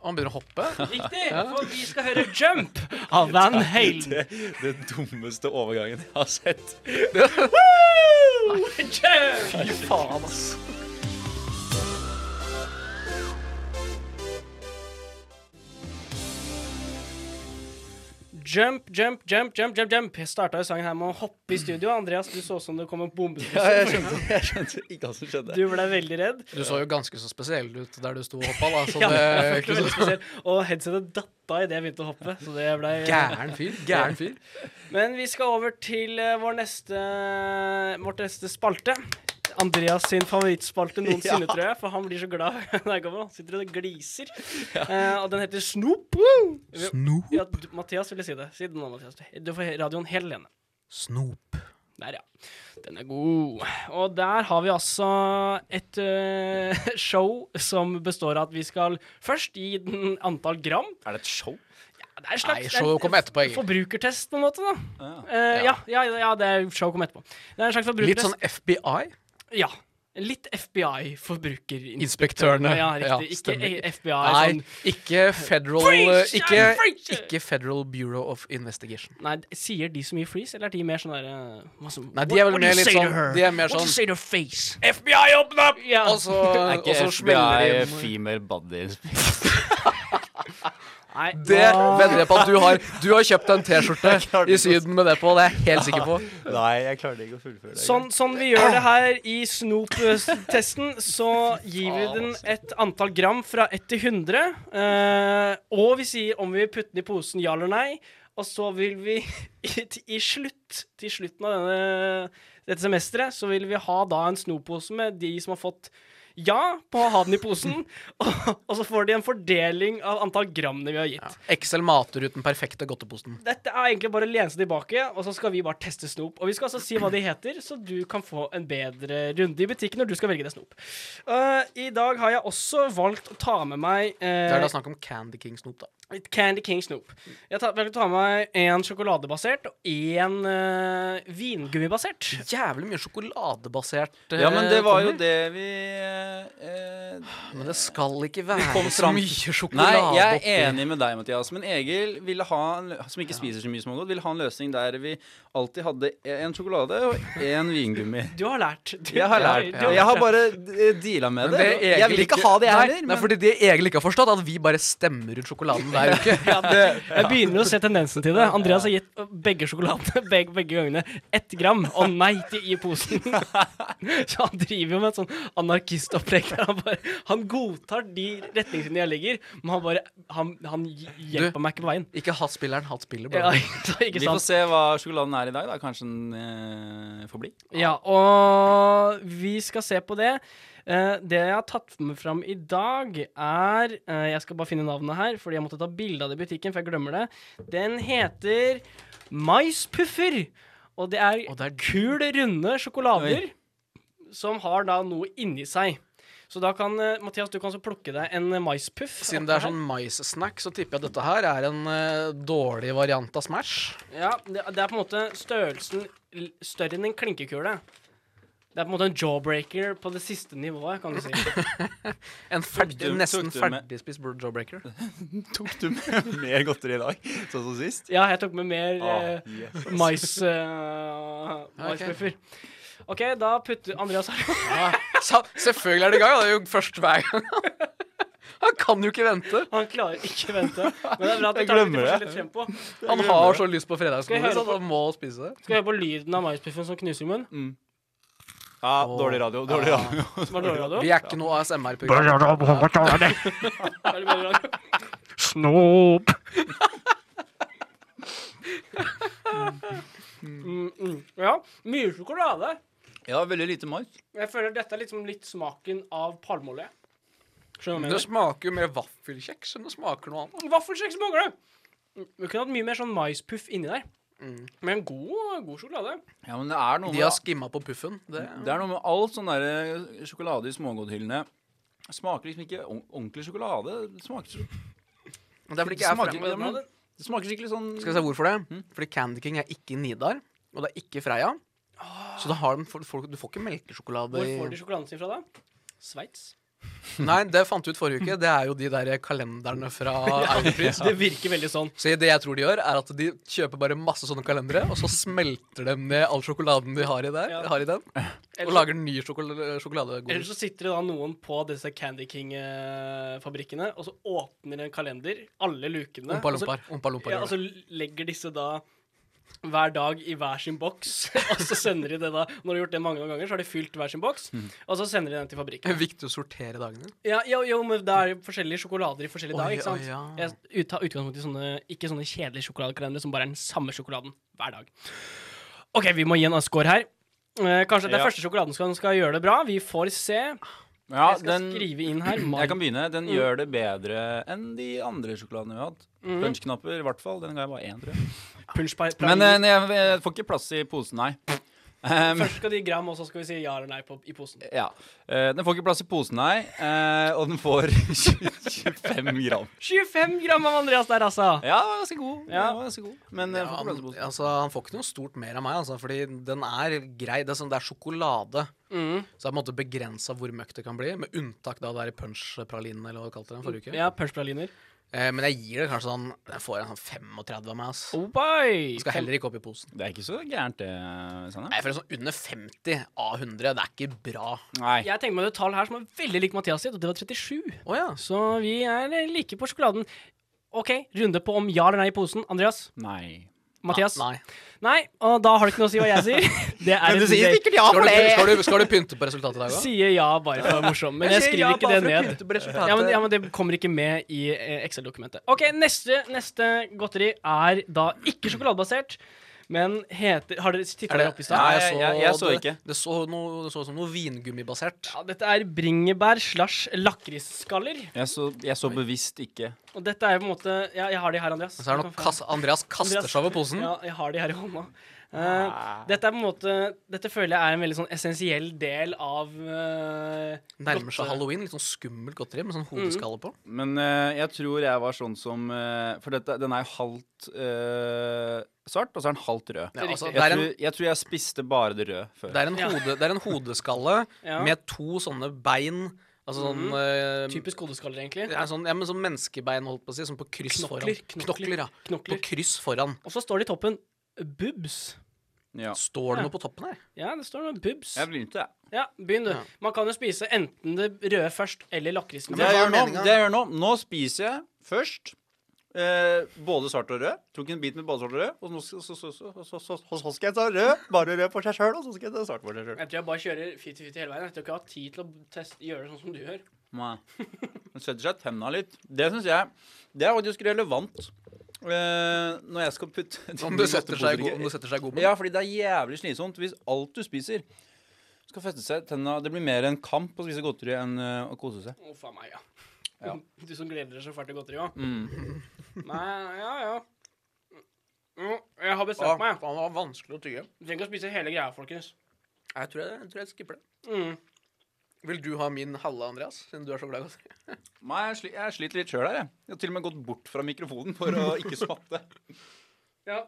S3: Han begynner å hoppe.
S2: Riktig, for vi skal høre 'Jump' av Van Halen.
S4: Det dummeste overgangen jeg har sett.
S2: Jump!
S3: Faen, ass.
S2: Jump, jump, jump, jump, jump. jump. Jeg starta jo sangen her med å hoppe i studio. Andreas, du så ut som det kom en
S4: Ja,
S2: bombetrussel.
S4: jeg skjønte, jeg skjønte ikke hva som skjedde.
S2: Du ble veldig redd.
S3: Du så jo ganske så spesiell ut der du sto og hoppa, da. Så
S2: Ja,
S3: det
S2: jeg følte meg veldig spesiell. Og headsetet datta idet jeg begynte å hoppe. Så det ble
S3: Gæren fyr. Gæren fyr.
S2: Men vi skal over til eh, vår neste, vårt neste spalte. Andreas sin favorittspalte noensinne, tror jeg. For han blir så glad når jeg kommer. Han sitter og gliser. Eh, og den heter Snop. Woo!
S3: Snop.
S2: Ja, du- Mathias ville si det. Si det nå, Mathias. Du får radioen helt alene.
S3: Snop.
S2: Der, ja. Den er god. Og der har vi altså et eh, show som består av at vi skal først gi den antall gram.
S4: Er det et show?
S2: Det er en slags
S3: Nei, showet kommer etterpå, Egil.
S2: forbrukertest, på en måte, da.
S4: Ja.
S2: Eh, ja. Ja, ja, det er show kom etterpå. Det er en slags
S3: Litt
S2: forbrukertest.
S3: sånn FBI.
S2: Ja. Litt FBI-forbrukerinspektørene.
S3: Inspektørene.
S2: Ja, riktig. ikke
S3: stemmer.
S2: eh, FBI.
S3: Nei,
S2: Sånn.
S3: ikke Federal
S2: Freeze!
S3: ikke,
S2: Freeze!
S3: ikke Federal Bureau of Investigation.
S2: Nei, d- sier de så mye freeze, eller er de mer sånn derre
S3: Nei, de er vel mer litt sånn De er mer
S2: What do you
S3: sånn
S2: say to her face?
S3: FBI, åpne opp!
S2: Ja.
S3: Og så, og så Altså, smeller det inn.
S6: female body
S2: Nei,
S3: Det
S2: nå-
S3: vedder jeg på at du har Du har kjøpt en T-skjorte
S6: klarte
S3: i
S6: ikke å-
S3: Syden med det på. Det er jeg helt sikker på.
S6: Nei, jeg klarte ikke å fullføre det.
S2: Sånn, sånn vi gjør det her i snop-testen, så gir vi den et antall gram fra 1 til 100. eh, og vi sier om vi vil putte den i posen, ja eller nei. Og så vil vi i, i slutt, til slutten av denne, dette semesteret, så vil vi ha da en snop-pose med de som har fått ja på å ha den i posen. Og, og så får de en fordeling av antall grammene vi har gitt.
S3: Excel mater ut den perfekte godteposten.
S2: Dette er egentlig bare å lene seg tilbake, og så skal vi bare teste snop. Og vi skal altså si hva de heter, så du kan få en bedre runde i butikken når du skal velge deg snop. Eh, I dag har jeg også valgt å ta med meg
S3: Det er
S2: eh,
S3: da snakk om Candy King-snop, da.
S2: Candy King snop. Jeg har valgt å ta med meg én sjokoladebasert og én eh, vingummibasert.
S3: Jævlig mye sjokoladebasert. eh,
S4: Ja, men det var jo
S3: kommer.
S4: det vi eh, eh,
S3: Men det skal ikke være
S4: kom
S3: så mye
S4: fram- Nei,
S3: sjokolade
S4: jeg
S3: oppi.
S4: er enig med deg, Mathias. Men Egil, ville ha en, lø- som ikke spiser så mye smågodt, ville ha en løsning der vi alltid hadde e-, en sjokolade og en vingummi.
S2: Du har lært. Du,
S4: Jeg har lært.
S2: du
S3: ja.
S2: har
S4: Jeg har
S2: lært,
S4: bare eh, deala med
S3: Men
S4: det.
S3: det
S4: Jeg vil
S3: Egil
S4: ikke ha det, jeg
S3: Nei,
S4: heller.
S3: nei,
S4: men-
S3: fordi det Egil ikke har forstått, er at vi bare stemmer ut sjokoladen hver uke.
S2: ja. Jeg begynner å se tendensen til det. Andreas har gitt begge sjokoladene begge, begge gangene ett gram og nei til i posen. Så han driver jo med et sånn anarkistopplegg der han bare Han godtar de retningslinjene jeg legger, men han bare Han, han hjelper meg ikke på veien.
S3: Ikke hat spilleren, hat spiller.
S2: Ja,
S3: bror.
S2: ikke
S4: Vi får
S2: sant?
S4: se hva sjokoladen er i dag. da Kanskje den eh, får bli.
S2: Ja, og vi skal se på det. Eh, det jeg har tatt med fram i dag, er eh, Jeg skal bare finne navnet her, fordi jeg måtte ta bilde av det i butikken, for jeg glemmer det. Den heter Maispuffer. Og det er,
S3: Og det er-
S2: kul, runde sjokolader
S4: Oi.
S2: som har da noe inni seg. Så da kan eh, Mathias, du kan så plukke deg en eh, maispuff.
S3: Siden det er
S2: oppi
S3: sånn maissnack, så tipper jeg at dette her er en eh, dårlig variant av Smash.
S2: her. Ja, det, det er på en måte størrelsen l- større enn en klinkekule. Det er på en måte en jawbreaker på det siste nivået, kan du si.
S3: En
S4: Tok du-
S3: ferdig, nesten
S4: tok du med-
S3: ferdigspist bro- jawbreaker.
S6: Tok du med mer godteri i dag, sånn som sist?
S2: Ja, jeg tok med mer
S6: Ah,
S2: eh, mais eh, maispuffer. OK, da putter Andreas
S3: Sa- Selvfølgelig er det i gang. ja, Det er jo først hver gang. Han kan jo ikke vente.
S2: Han klarer ikke vente. Men det er bra at vi
S6: Jeg
S2: tar det litt
S6: glemmer det.
S2: forskjellig tempo.
S3: Han har så lyst på
S2: Skal jeg
S3: fredagsgodteri,
S2: høre
S3: så han må spise det.
S2: Skal vi høre på lyden av maispuffen som knuser i munnen?
S6: Ja, dårlig radio. Dårlig radio.
S2: Som er dårlig radio?
S3: Vi er ikke noe ASMR-program.
S2: Er det bedre radio?
S7: Snop.
S2: Mm, mm. Ja, mye sjokolade.
S4: Ja, veldig lite mark.
S2: Jeg føler dette er liksom litt smaken av palmeolje. Skjønner du hva jeg
S3: Det
S2: mener?
S3: smaker jo mer vaffelkjeks enn det smaker noe annet.
S2: Vaffelkjeks smaker det! Mm, Vi kunne hatt mye mer sånn maispuff inni der.
S3: Mm.
S2: Men god, god sjokolade.
S4: Ja, men det er noe
S3: De har
S4: med,
S3: skimma på puffen. Det,
S4: det er noe med all sånn derre sjokolade i smågodthyllene. Smaker liksom ikke ord- ordentlig sjokolade. Det smaker,
S3: Men det er fordi
S4: det
S3: ikke jeg er
S4: smaker,
S3: fra-
S4: ja, men det smaker skikkelig sånn
S3: Skal jeg si hvorfor det? Fordi Candy King er ikke Nidar, og det er ikke Freia. Så da har de, folk, du får ikke
S2: Ah.
S3: melkesjokolade
S2: Hvor
S3: i
S2: får de sjokoladen sin fra da? Sveits.
S3: Nei, det fant vi ut forrige uke. Det er jo de der kalenderne fra Europris.
S2: Det virker veldig sånn.
S3: Så det jeg tror de gjør, er at de kjøper bare masse sånne kalendere, og så smelter de ned all sjokoladen de har i, der,
S2: Ja.
S3: har i den, og
S2: Ellers,
S3: lager ny sjokol sjokoladegodis.
S2: ellers så sitter det da noen på disse Candy King-fabrikkene, og så åpner en kalender, alle lukene.
S3: Ompa
S2: og så- altså,
S3: Lompaer. Ompa Lompaer
S2: Ja,
S3: gjør
S2: og så legger disse da hver dag i hver sin boks, og så sender de det da Når de har gjort det mange ganger, så har de fylt hver sin boks, og så sender de den til
S3: det.
S2: fabrikken.
S3: Viktig å sortere dagene.
S2: Ja, jo, jo, men det er jo forskjellige sjokolader i forskjellige
S3: Oi,
S2: dager, ikke sant?
S3: oi, ja.
S2: Jeg tar utgangspunkt i sånne, ikke sånne kjedelige sjokoladekalendere som bare er den samme sjokoladen hver dag. OK, vi må gi en score her. Eh, kanskje det er
S6: Ja.
S2: første sjokoladen som skal gjøre det bra. Vi får se.
S4: Ja,
S2: jeg skal skrive inn her. Mai.
S4: Jeg kan begynne. Den gjør det bedre enn de andre sjokoladene vi har hatt. Lunsjknapper, i hvert fall. Den ga jeg bare én, tror jeg.
S2: Punch pa- pra-
S4: Men eh, nei, jeg, jeg får ikke plass i posen, nei. Um,
S2: Først skal de i gram, og så skal vi si ja eller nei på, i posen.
S4: ja. Eh, den får ikke plass i posen, nei. Eh, og den får 25 gram.
S2: 25 gram av Andreas der, altså!
S4: Ja, den var ganske god. Den
S2: Ja.
S4: var ganske god. Men eh,
S3: Ja,
S4: den får ikke plass i
S3: han,
S4: posen.
S3: altså, han får ikke noe stort mer av meg, altså, fordi den er grei. Det er, sånn, det er sjokolade.
S2: Mm.
S3: Så det er på en måte begrensa hvor møkk det kan bli, med unntak da der punch-pralinen, eller hva du kalte den forrige uke.
S2: Ja, punchpraliner.
S3: Eh, men jeg gir det kanskje sånn Jeg får en sånn 35 av meg, ass.
S2: Oh boy!
S3: Skal heller ikke opp i posen.
S4: Det er ikke så gærent, det, Sanne.
S3: Nei, for en sånn under 50 av 100, det er ikke bra.
S4: Nei.
S2: Jeg tenker meg et tall her som er veldig lik Mathias sitt, og det var 37.
S3: Å ja.
S2: Så vi er eh, like på sjokoladen. OK, runde på om ja eller nei i posen. Andreas?
S4: Nei.
S2: Mathias?
S3: Nei.
S2: Nei, og da har det ikke noe å si hva jeg sier. Det er et break.
S3: sikkert ja
S4: Ah,
S3: for det! Skal du, skal du pynte på resultatet i dag, da?
S2: Sier ja bare for å være morsom, men jeg
S3: sier ja
S2: skriver ikke
S3: bare
S2: det
S3: for å
S2: ned.
S3: pynte på resultatet.
S2: Ja men, ja, men det kommer ikke med i eh, Excel-dokumentet. OK, neste, neste godteri er da ikke sjokoladebasert, men heter Har dere titta
S3: Er det,
S2: dere opp i
S3: Nei,
S2: stad?
S4: jeg- jeg- jeg så
S3: det,
S4: ikke.
S3: Det så, noe, det så ut som noe vingummibasert.
S2: Ja, dette er bringebær slash lakrisskaller.
S4: Jeg så, jeg så bevisst ikke.
S2: Og dette er på en måte Ja, jeg har de her, Andreas.
S3: Og Så er det
S2: Du
S3: noe
S2: kan få-
S3: kass- Andreas kaster
S2: Andreas-
S3: seg over posen. Ah.
S2: Ja, jeg har de her i hånda. Eh, dette er på en måte Dette føler jeg er en veldig sånn essensiell del av eh,
S3: Nærmer
S2: godte-
S3: seg halloween. Litt sånn skummelt godteri med sånn
S2: Mm.
S3: hodeskalle på.
S4: Men eh, jeg tror jeg var sånn som eh, For dette, den er jo halvt eh, svart, og så er den halvt rød.
S3: Ja, altså,
S2: riktig.
S3: det,
S4: Jeg
S3: er en,
S4: tror, jeg tror jeg spiste bare det røde før.
S3: det, er en
S2: Ja.
S3: hode, det er en hodeskalle
S2: Ja. Mm.
S3: med to sånne bein. Altså sånn eh,
S2: Typisk hodeskaller, egentlig.
S3: det er sånn, ja, men sånn menneskebein, holdt på å si. Sånn på kryss
S2: Knokler,
S3: foran.
S2: knokler,
S3: Knokler, ja.
S2: knokler.
S3: På kryss foran.
S2: Og så står det i toppen Boobs.
S4: Ja.
S3: Står det
S2: Ja.
S3: noe på toppen her?
S2: Ja, det står noe boobs.
S4: Jeg begynte, jeg.
S2: Ja, Begynn, du.
S3: Ja.
S2: Man kan jo spise enten det røde først eller lakrisen.
S4: Det
S3: hva
S4: jeg,
S3: er
S4: gjør nå,
S3: meningen?
S4: det jeg gjør nå Nå spiser jeg først eh, både svart og rød. Tok en bit med både svart og rød, og nå skal- så, så, så, så, så, så, så skal jeg ta rød, bare rød for seg sjøl, og så skal jeg ta svart for seg sjøl.
S2: Jeg tror jeg bare kjører fifty-fifty hele veien. Jeg tror ikke jeg har tid til å teste, gjøre det sånn som du gjør.
S4: Den setter seg tenna litt. Det syns jeg Det er faktisk relevant eh, når jeg skal putte
S3: Om det Sånn setter seg i go- om det setter seg i gommen?
S4: Ja, fordi det er jævlig slitsomt hvis alt du spiser skal feste seg i tenna. Det blir mer en kamp å spise godteri enn eh, å kose seg.
S2: Å, faen meg, ja.
S4: Ja.
S2: Du som gleder deg så fælt til godteri òg. Nei, ja, ja. Mm, Jeg har bestemt
S3: Å,
S2: meg.
S3: faen, det var vanskelig å tygge.
S2: Du trenger ikke å spise hele greia, folkens.
S3: Jeg tror jeg, jeg, tror jeg skipper det.
S2: Mm.
S3: Vil du ha min halve, Andreas? Siden du er så glad i godteri.
S4: Nei, jeg, sli, jeg sliter litt sjøl her, jeg. Jeg har til og med gått bort fra mikrofonen for å ikke smatte.
S2: Ja.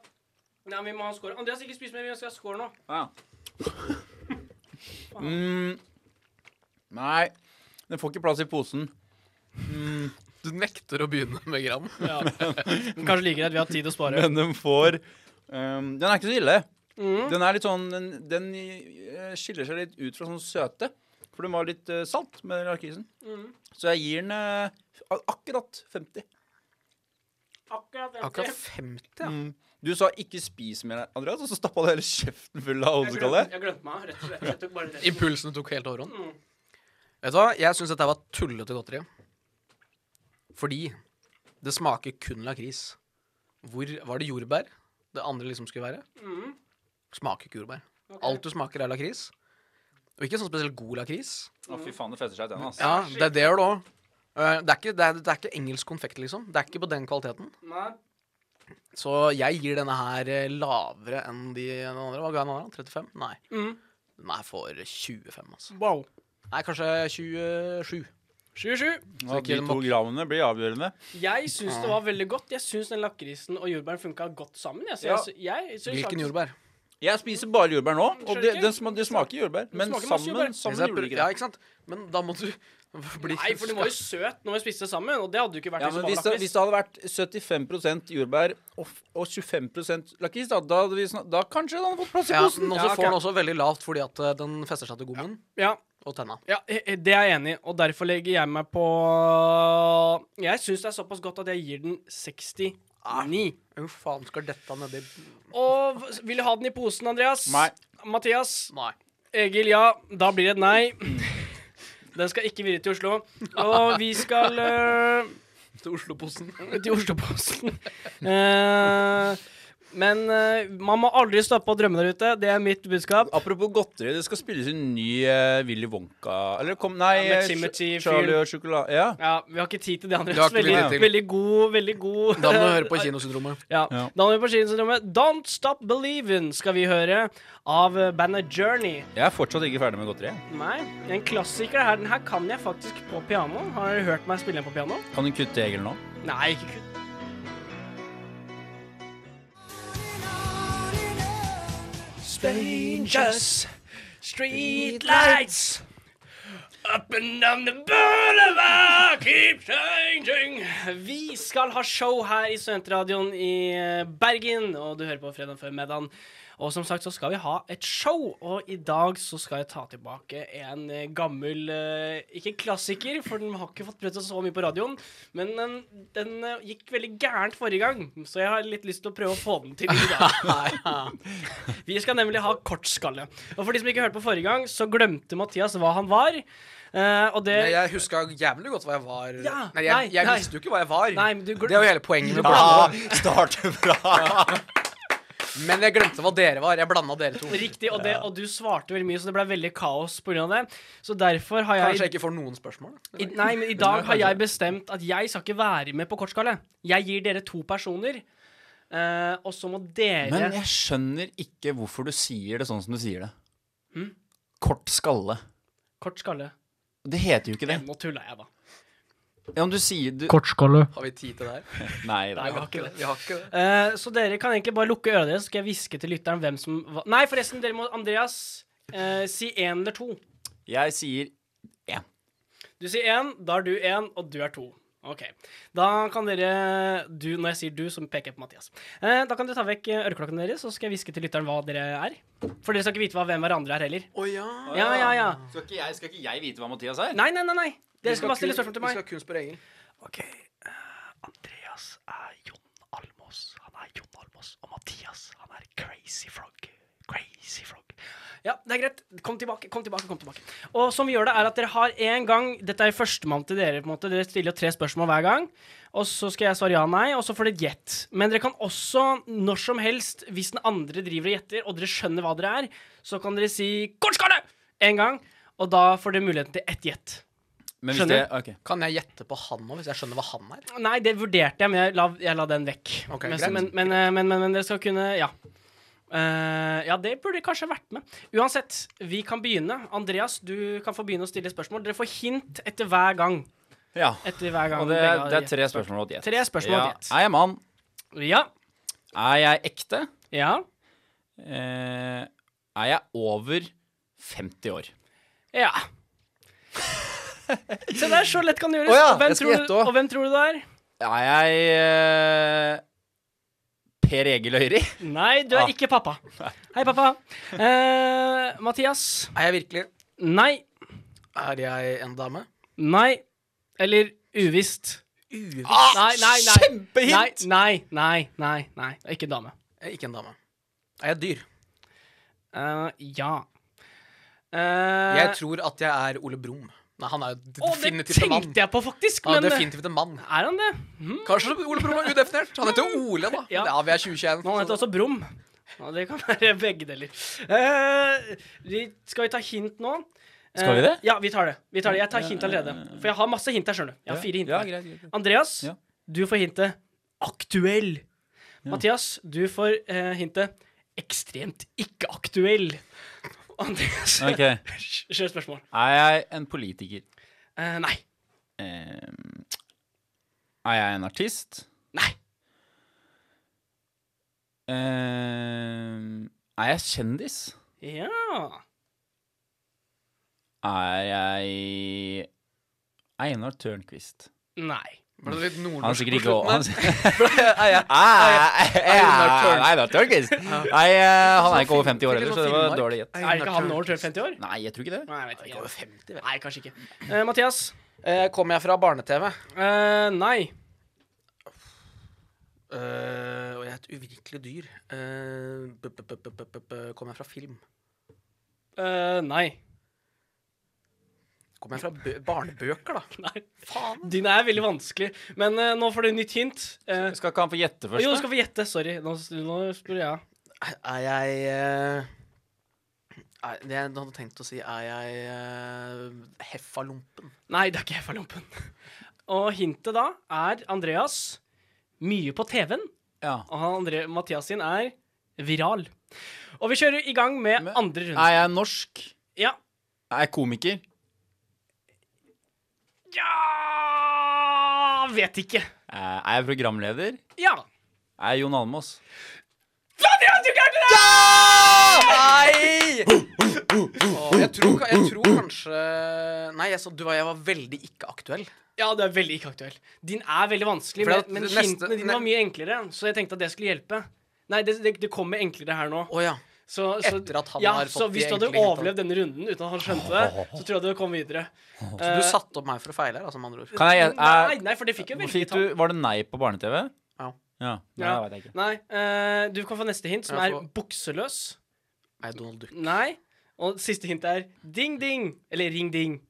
S2: Nei, vi må ha en score. Andreas, ikke spis mer. Vi skal ha score nå.
S4: Ja. Mm. Nei, den får ikke plass i posen.
S3: Du nekter å begynne med gram.
S2: Men kanskje like greit. Vi har tid å spare.
S4: Men den får ehm, Den er ikke så ille.
S2: Mm.
S4: Den er litt sånn Den, den eh, skiller seg litt ut fra sånn søte. For den var litt eh, salt med lakrisen.
S2: Mm.
S4: Så jeg gir den eh, ak- akkurat 50.
S2: Akkurat
S3: Akkurat
S2: det.
S3: 50, ja.
S4: Mm. Du sa 'ikke spis mer', Andreas, og så stappa du hele kjeften full av
S2: Jeg glemte,
S4: hodeskalle.
S2: jeg glemte meg, rett og slett. Jeg tok bare resten.
S3: Impulsene tok helt overhånd.
S2: Mm.
S3: Vet du hva? Jeg syns dette var tullete godteri. Fordi det smaker kun lakris. Hvor var det jordbær? Det andre liksom skulle være.
S2: Mm.
S3: Smaker ikke jordbær.
S2: Ok.
S3: Alt du smaker, er lakris. Og ikke sånn spesielt god lakris.
S4: Å, fy faen, det fester seg i tenna, altså.
S3: Ja, det er det gjør det òg. Det er, ikke, det, er, det er ikke engelsk konfekt, liksom. Det er ikke på den kvaliteten.
S2: Nei.
S3: Så jeg gir denne her eh, lavere enn de den andre. Hva ga den andre? 35? Nei.
S2: Mm.
S3: Den her får 25, altså.
S2: Wow.
S3: Nei, kanskje 27.
S2: 27.
S4: Ja, de to grammene blir avgjørende.
S2: Jeg syns det var veldig godt. Jeg syns den lakrisen og jordbæren funka godt sammen. Jeg. Så
S4: Ja.
S2: jeg, sy- jeg syns
S3: Hvilken
S2: faktisk-
S3: jordbær?
S4: Jeg spiser bare jordbær nå, og
S2: Skjønner
S4: det,
S2: ikke.
S4: den sma- det smaker jordbær. Men
S2: smaker masse
S4: sammen,
S2: jordbær.
S4: sammen
S3: Hvis jeg
S4: gjorde
S3: prø-
S4: det ikke
S3: Ja,
S4: det.
S3: ikke sant? Men da må du Bli-
S2: Nei, for den var jo søt når vi spiste det sammen, og det hadde jo ikke vært
S4: Ja,
S2: hvis
S4: men
S2: det
S4: hvis
S2: var
S4: det,
S2: lakris.
S4: hvis det hadde vært 75 jordbær og, f- og 25 lakris, da, da, hadde vi snak- da kanskje den hadde fått plass i
S3: Ja,
S4: posen.
S3: men også
S2: Ja, ok.
S3: får den også veldig lavt fordi at eh, den fester seg til gommen
S2: Ja,
S3: og tenna.
S2: ja, eh, eh, det er jeg enig i, og derfor legger jeg meg på Jeg syns det er såpass godt at jeg gir den 69.
S3: Hvor faen skal dette nedi
S2: Og v- vil du ha den i posen, Andreas?
S4: Nei.
S2: Mathias?
S3: Nei.
S2: Egil, ja. Da blir det et nei. Den skal ikke videre til Oslo. Og vi skal eh,
S3: Til Oslo-posen.
S2: til Oslo-posten. Eh, men eh, man må aldri stoppe å drømme der ute. Det er mitt budskap.
S4: Apropos godteri, det skal spilles en ny eh, Willy Wonka Eller kom, nei,
S2: Ja, med
S4: eh,
S2: Timothy
S4: Ch- Charlie og sjokolade Ja.
S2: Ja, Vi har ikke tid til det,
S3: Vi har
S2: Andreas.
S3: ikke
S2: Veldig,
S4: tid
S3: til.
S2: veldig god veldig god
S3: Da må du høre på Kinosyndromet.
S2: Ja.
S4: Ja.
S2: Da må vi på skisyndromet. Don't Stop Believin' skal vi høre av eh, bandet Journey.
S4: Jeg er fortsatt ikke ferdig med godteri. jeg.
S2: Nei, en klassiker det her. Den her kan jeg faktisk på piano. Har dere hørt meg spille den på piano?
S4: Kan du kutte Egil nå?
S2: Nei, ikke kutt. Strangers, streetlights Up and down the boulevard keep changing Vi skal ha show her i Studentradioen i eh, Bergen, og du hører på Fredag før middagen. Og som sagt så skal vi ha et show, og i dag så skal jeg ta tilbake en eh, gammel eh, Ikke klassiker, for den har ikke fått prøvd seg så mye på radioen, men den, den eh, gikk veldig gærent forrige gang, så jeg har litt lyst til å prøve å få den til i dag. Vi skal nemlig ha kortskalle. Og for de som ikke hørte på forrige gang, så glemte Mathias hva han var. Eh, og det
S3: Jeg huska jævlig godt hva jeg var.
S2: Ja,
S3: nei,
S2: nei,
S3: jeg, jeg
S2: nei.
S3: visste jo ikke hva jeg var.
S2: Nei, men du glem-
S3: Det er jo hele poenget med
S6: Ja,
S3: blander.
S6: starte bra.
S3: Men jeg glemte hva dere var. Jeg blanda dere to.
S2: Riktig, og, det, og du svarte veldig mye, så det ble veldig kaos pga. det. Så derfor har jeg
S3: Kanskje jeg ikke får noen spørsmål.
S2: i, Nei, men i dag har jeg bestemt at jeg skal ikke være med på kortskalle. Jeg gir dere to personer, eh, og så må dere
S4: Men jeg skjønner ikke hvorfor du sier det sånn som du sier det.
S2: Hm?
S4: Kort skalle.
S2: Kortskalle.
S4: Det heter jo ikke det.
S2: Nå tulla jeg, da.
S4: Ja, men du sier du
S7: Kortskalle.
S3: Har vi tid til det her?
S4: Nei da.
S2: Nei, vi har ikke det.
S3: Vi har ikke det.
S2: Eh, så dere kan egentlig bare lukke øret deres, så skal jeg hviske til lytteren hvem som var Nei, forresten, dere må Andreas eh, si én eller to.
S4: Jeg sier
S2: Du sier én, da er du én, og du er to. OK. Da kan dere du, Når jeg sier du, så peker jeg på Mathias. Eh, da kan dere ta vekk eh, øreklokkene deres, så skal jeg hviske til lytteren hva dere er. For dere skal ikke vite hva hvem hverandre er heller.
S3: Å ja.
S2: Ja, ja, ja.
S4: Skal ikke jeg, skal ikke jeg vite hva Mathias er?
S2: Nei, nei, nei. nei. Dere skal
S3: Vi
S2: bare stille
S3: kun-
S2: spørsmål til
S3: Vi
S2: meg.
S3: skal kun spørre Egil.
S2: OK. eh, Andreas er Jon Almås. Han er Jon Almås. Og Mathias, han er Crazy Frog. Crazy Frog. Ja, det er greit. Kom tilbake, kom tilbake. kom tilbake. Og som vi gjør det, er at dere har én gang Dette er førstemann til dere. på en måte. Dere stiller jo tre spørsmål hver gang. Og så skal jeg svare ja nei, og så får dere et gjett. Men dere kan også når som helst, hvis den andre driver og gjetter, og dere skjønner hva dere er, så kan dere si 'Kortskalle!' én gang. Og da får dere muligheten til ett gjett.
S4: Men hvis det,
S2: Skjønner.
S4: ok.
S3: Kan jeg gjette på han nå, hvis jeg skjønner hva han er?
S2: Nei, det vurderte jeg, men jeg la, jeg la den vekk.
S3: Ok,
S2: men,
S3: greit.
S2: men, men, eh, men, men, men dere skal kunne Ja. Eh, ja, det burde kanskje vært med. Uansett, vi kan begynne. Andreas, du kan få begynne å stille spørsmål. Dere får hint etter hver gang.
S4: Ja.
S2: Etter hver gang
S4: Og det,
S2: begge har
S4: det er
S2: gjett.
S4: tre spørsmål og et gjett.
S2: Tre spørsmål og
S4: ja.
S2: et gjett.
S4: Er jeg mann?
S2: Ja.
S4: Er jeg ekte?
S2: Ja.
S4: Eh, er jeg over 50 år?
S2: Ja. Se der, så lett kan det gjøres.
S4: Å ja,
S2: og, hvem
S4: jeg skal
S2: tror
S4: gjette
S2: du,
S4: også.
S2: og hvem tror du det er?
S4: Er jeg eh, Per Egil Øyri?
S2: Nei, du er
S4: Ah.
S2: ikke pappa. Hei, pappa. Eh, Mathias.
S3: Er jeg virkelig
S2: Nei.
S3: Er jeg en dame?
S2: Nei. Eller uvisst. Ah,
S3: Uvisst.
S2: nei, nei, nei. Nei,
S4: kjempehint!
S2: nei, nei, nei, nei. Jeg er Ikke dame.
S3: Jeg er Ikke en dame. Er jeg et dyr?
S2: Eh, ja. Eh,
S3: Jeg tror at jeg er Ole Brumm. Nei, han er jo d-
S2: Å, det
S3: definitivt en mann.
S2: tenkte jeg på, faktisk.
S3: Han er
S2: men
S3: definitivt en mann.
S2: er han det? Hm?
S3: Kanskje Ole Brumm er udefinert? Han heter jo Ole, da.
S2: Ja.
S3: Ja, vi er 2021.
S2: Men han heter også Brum. Ja, det kan være begge deler. Eh, vi, skal vi ta hint nå? Eh,
S4: Skal vi det? Eh.
S2: Ja, vi tar det. Vi tar det. Jeg tar hint allerede. For jeg har masse hint her, skjønner du. Jeg har fire hint.
S4: Ja,
S2: her.
S4: greit, greit.
S2: Andreas,
S4: Ja.
S2: du får hintet 'aktuell'. Mathias, du får eh, hintet 'ekstremt ikke aktuell'. Andreas,
S4: Ok.
S2: kjør spørsmål.
S4: Er jeg en politiker?
S2: Eh, nei.
S4: Eh, er jeg en artist?
S2: Nei.
S4: Eh, er jeg kjendis?
S2: Ja.
S4: Er jeg Einar Tørnquist.
S2: Nei.
S3: Ble det litt nordnorsk
S4: Han er sikkert
S3: på
S4: ikke
S3: slutten
S4: han,
S3: her?
S2: Ah,
S4: Einar Tørnquist. Nei, eh, han er ikke over 50 år
S3: Sikkert sånn
S4: heller, så det var
S3: Finnmark.
S4: dårlig gjett.
S2: Er ikke han over 50 år?
S4: Nei, jeg tror ikke det.
S2: Nei, jeg vet
S3: Ikke over
S2: ikke.
S3: 50, vel.
S2: Nei, kanskje ikke. Eh, Mathias?
S3: Eh, Kommer jeg fra barne-TV?
S2: Eh, nei.
S3: Eh, og jeg er et uvirkelig dyr. Eh, b- b- b- b- b- b- Kommer jeg fra film?
S2: Eh, nei.
S3: Kommer jeg fra bø barnebøker, da?
S2: Nei.
S3: Faen!
S2: Din er veldig vanskelig. Men eh, nå får du et nytt hint. Eh,
S4: Skal ikke han få gjette først?
S2: jo, du
S4: da?
S2: skal få gjette. Sorry. Nå, nå skulle jeg
S3: Er jeg eh, er, Det jeg hadde tenkt å si, er jeg eh, heffalompen?
S2: Nei, det er ikke Heffalompen. Og hintet da er Andreas mye på TV-en,
S4: Ja.
S2: og han Andre, Mathias sin er viral. Og vi kjører i gang med
S4: Men-
S2: andre runde.
S4: Er jeg norsk?
S2: Ja.
S4: Er jeg komiker?
S2: ja Vet ikke.
S4: Eh, Er jeg programleder?
S2: Ja.
S4: Er jeg Jon Almaas?
S2: Andreas, du klarte det!
S3: Nei! jeg, tror, ka- jeg tror kanskje Nei, jeg, så, du, var- jeg var veldig ikke aktuell.
S2: Ja, du er veldig ikke aktuell. Din er veldig vanskelig,
S3: For
S2: men,
S3: at
S2: men
S3: neste-
S2: hintene dine
S3: ne-
S2: var mye enklere, så jeg tenkte at det skulle hjelpe. Nei, det, det, det kommer enklere her nå.
S3: Å ja.
S2: Så, så,
S3: Etter at han
S2: ja,
S3: har
S2: så
S3: fått de
S2: hvis du hadde
S3: enkle hintene.
S2: overlevd denne runden uten at han skjønte det, så tror jeg du kom videre. Eh,
S3: Så du satte opp meg for å feile her, altså, med andre ord.
S4: Kan jeg gjette?
S2: Nei,
S4: er-
S2: nei, for det fikk jo
S4: Hvor
S2: veldig
S4: fikk du, var det nei på barne-TV?
S3: Ja.
S4: Ja. Nei,
S2: Ja.
S4: det vet jeg ikke.
S2: Nei, eh, du kan få neste hint, som
S3: Jeg
S2: er
S3: får-
S2: bukseløs.
S3: Nei, Donald Duck.
S2: Nei. Og siste hint er ding-ding. Eller ring-ding.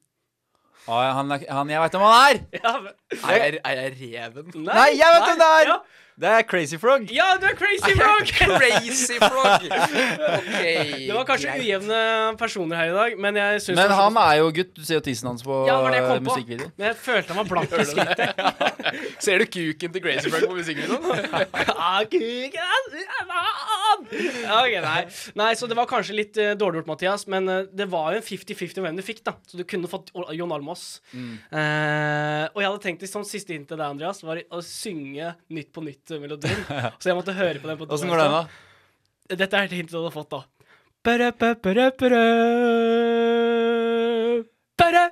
S4: Å, Ah, ja, han, er- han, jeg veit hvem han er!
S2: Ja, men-
S3: Er jeg, er jeg reven?
S2: nei,
S4: Nei, jeg vet
S2: nei,
S4: hvem det er!
S2: Ja,
S4: Det er Crazy Frog.
S2: ja du er crazy, bro!
S3: Crazy frog! Ok.
S2: Det var kanskje
S3: greit.
S2: ujevne personer her i dag, men jeg syns
S4: Men han er jo gutt. Du ser jo tissen hans på
S2: sånn- ja, det var det jeg
S4: eh,
S2: kom på.
S4: musikkvideo.
S2: Men jeg følte han var blank i skrittet.
S3: Ser du kuken til Crazy Frog på musikkvideoen?
S2: Ah, kuken, ah, ah. Ok, nei. nei, så det var kanskje litt eh, dårlig gjort, Mathias, men eh, det var jo en 50-50 hvem du fikk, da. Så du kunne fått O- Jon Almaas. Eh, og jeg hadde tenkt liksom siste hint til deg, Andreas, var å synge Nytt på nytt-melodien. så jeg måtte høre på den. på
S4: Åssen går den, da?
S2: Dette er et hint du hadde fått, da. Bare, bare, bare, bare. Bare.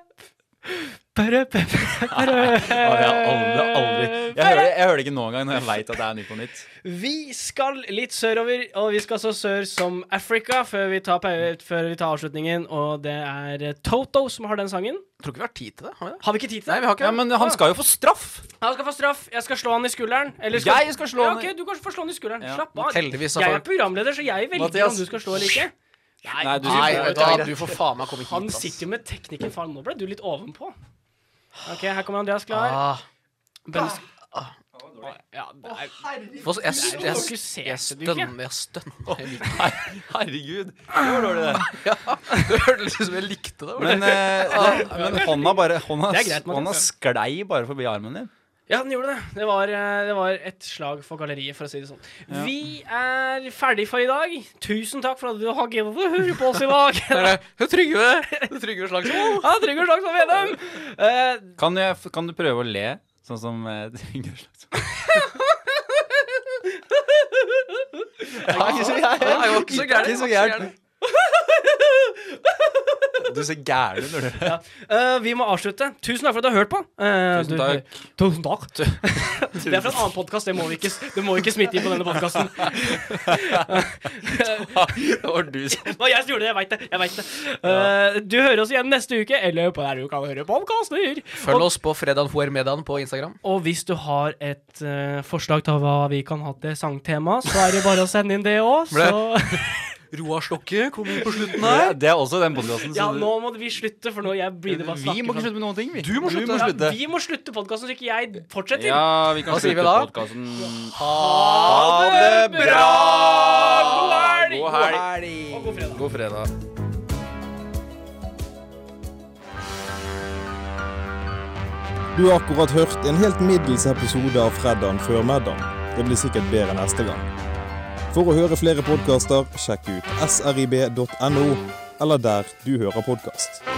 S2: Bare, bare, bare.
S4: Å, jeg har Ah, aldri, aldri. Jeg, hører, det- jeg hører det ikke nå engang når jeg veit at det er Nytt på Nytt.
S2: Vi skal litt sørover, og vi skal så sør som Africa før vi tar, pau- før vi tar avslutningen. Og det er eh, Toto som har den sangen.
S3: Tror ikke vi har tid til det. har vi det?
S2: Har vi ikke tid til det?
S3: Nei, vi har ikke
S4: Ja,
S3: det.
S4: Men han skal jo få straff!
S2: Han skal få straff. Jeg skal slå han i skulderen. Eller
S4: Jeg skal slå
S2: ja,
S4: han i-
S2: ok, Du kan få slå han i skulderen.
S4: Ja.
S2: Slapp av.
S3: Heldigvis har
S2: Jeg er
S3: folk
S2: programleder, så jeg velger
S4: Mathias.
S2: om du skal slå eller ikke.
S4: Nei, du-
S3: Nei,
S4: Nei,
S3: vet du hva, du får faen meg komme hit.
S2: Han
S3: ass.
S2: sitter jo med teknikken faen. Nå ble du litt ovenpå. OK, her kommer Andreas klar.
S3: Ah,
S2: Bønnes... Ja, det er
S3: Få se- jeg,
S2: Nei,
S3: jeg,
S2: du
S3: jeg,
S2: fokuserte
S3: jeg
S2: du ikke?
S3: stønner. Jeg stønner. i mikken.
S4: Herregud. Hvor var det?
S3: Det hørtes ut som jeg likte det.
S4: Men, eh, det, men hånda bare hånda,
S2: Det er greit, Mathias.
S4: hånda sklei bare forbi armen din.
S2: Ja, den gjorde det. Det var, eh, det var et slag for galleriet, for å si det sånn. Vi er ferdig for i dag. Tusen takk for at du har giddet å høre på oss i dag.
S3: Du Trygve det er Trygve Slagsvold.
S2: Ja, Trygve Slagsvold Vedum. Eh,
S4: Kan, jeg, f- kan du prøve å le? Sånn som eh, Trygve Slagsvold. Ja, ikke så gæren.
S3: Det er jo ikke så gærent.
S4: Ikke så gæren. Du ser gæren ut når du
S2: eh, vi må avslutte. Tusen takk for at du har hørt på. Eh,
S4: Tusen
S2: du-
S4: takk.
S2: Tusen takk. Det er fra en annen podkast. Det, må vi ikke- det må vi ikke smitte inn på denne podkasten.
S4: Det var du som
S2: Det var jeg som gjorde det. Jeg veit det. jeg vet det. Eh, du hører oss igjen neste uke, eller på der du kan høre podkaster.
S3: Følg oss på Fredan Fuermedan på Instagram.
S2: Og hvis du har et eh, forslag til hva vi kan ha til sangtema, så er det bare å sende inn det òg.
S3: Ble-
S2: Så
S3: Roar Stokke kom inn på slutten
S4: Nei. Det er også den podkasten.
S2: ja, nå må vi slutte, for nå jeg begynner bare å snakke.
S4: Altså, Vi må ikke
S2: sånn.
S4: slutte med noen ting, vi.
S3: Du må slutte.
S4: Vi må slutte.
S2: Ja, vi må slutte podkasten, så ikke jeg fortsetter.
S4: Ja, vi kan
S3: Hva sier vi
S4: slutte
S3: da?
S4: podkasten.
S3: Ah.
S2: Ha det bra! God helg!
S4: God helg!
S2: Og god fredag.
S4: God fredag.
S8: Du har akkurat hørt en helt middels episode av Freddan før middagen. Det blir sikkert bedre neste gang. For å høre flere podkaster, sjekk ut srib.no, eller der du hører podkast.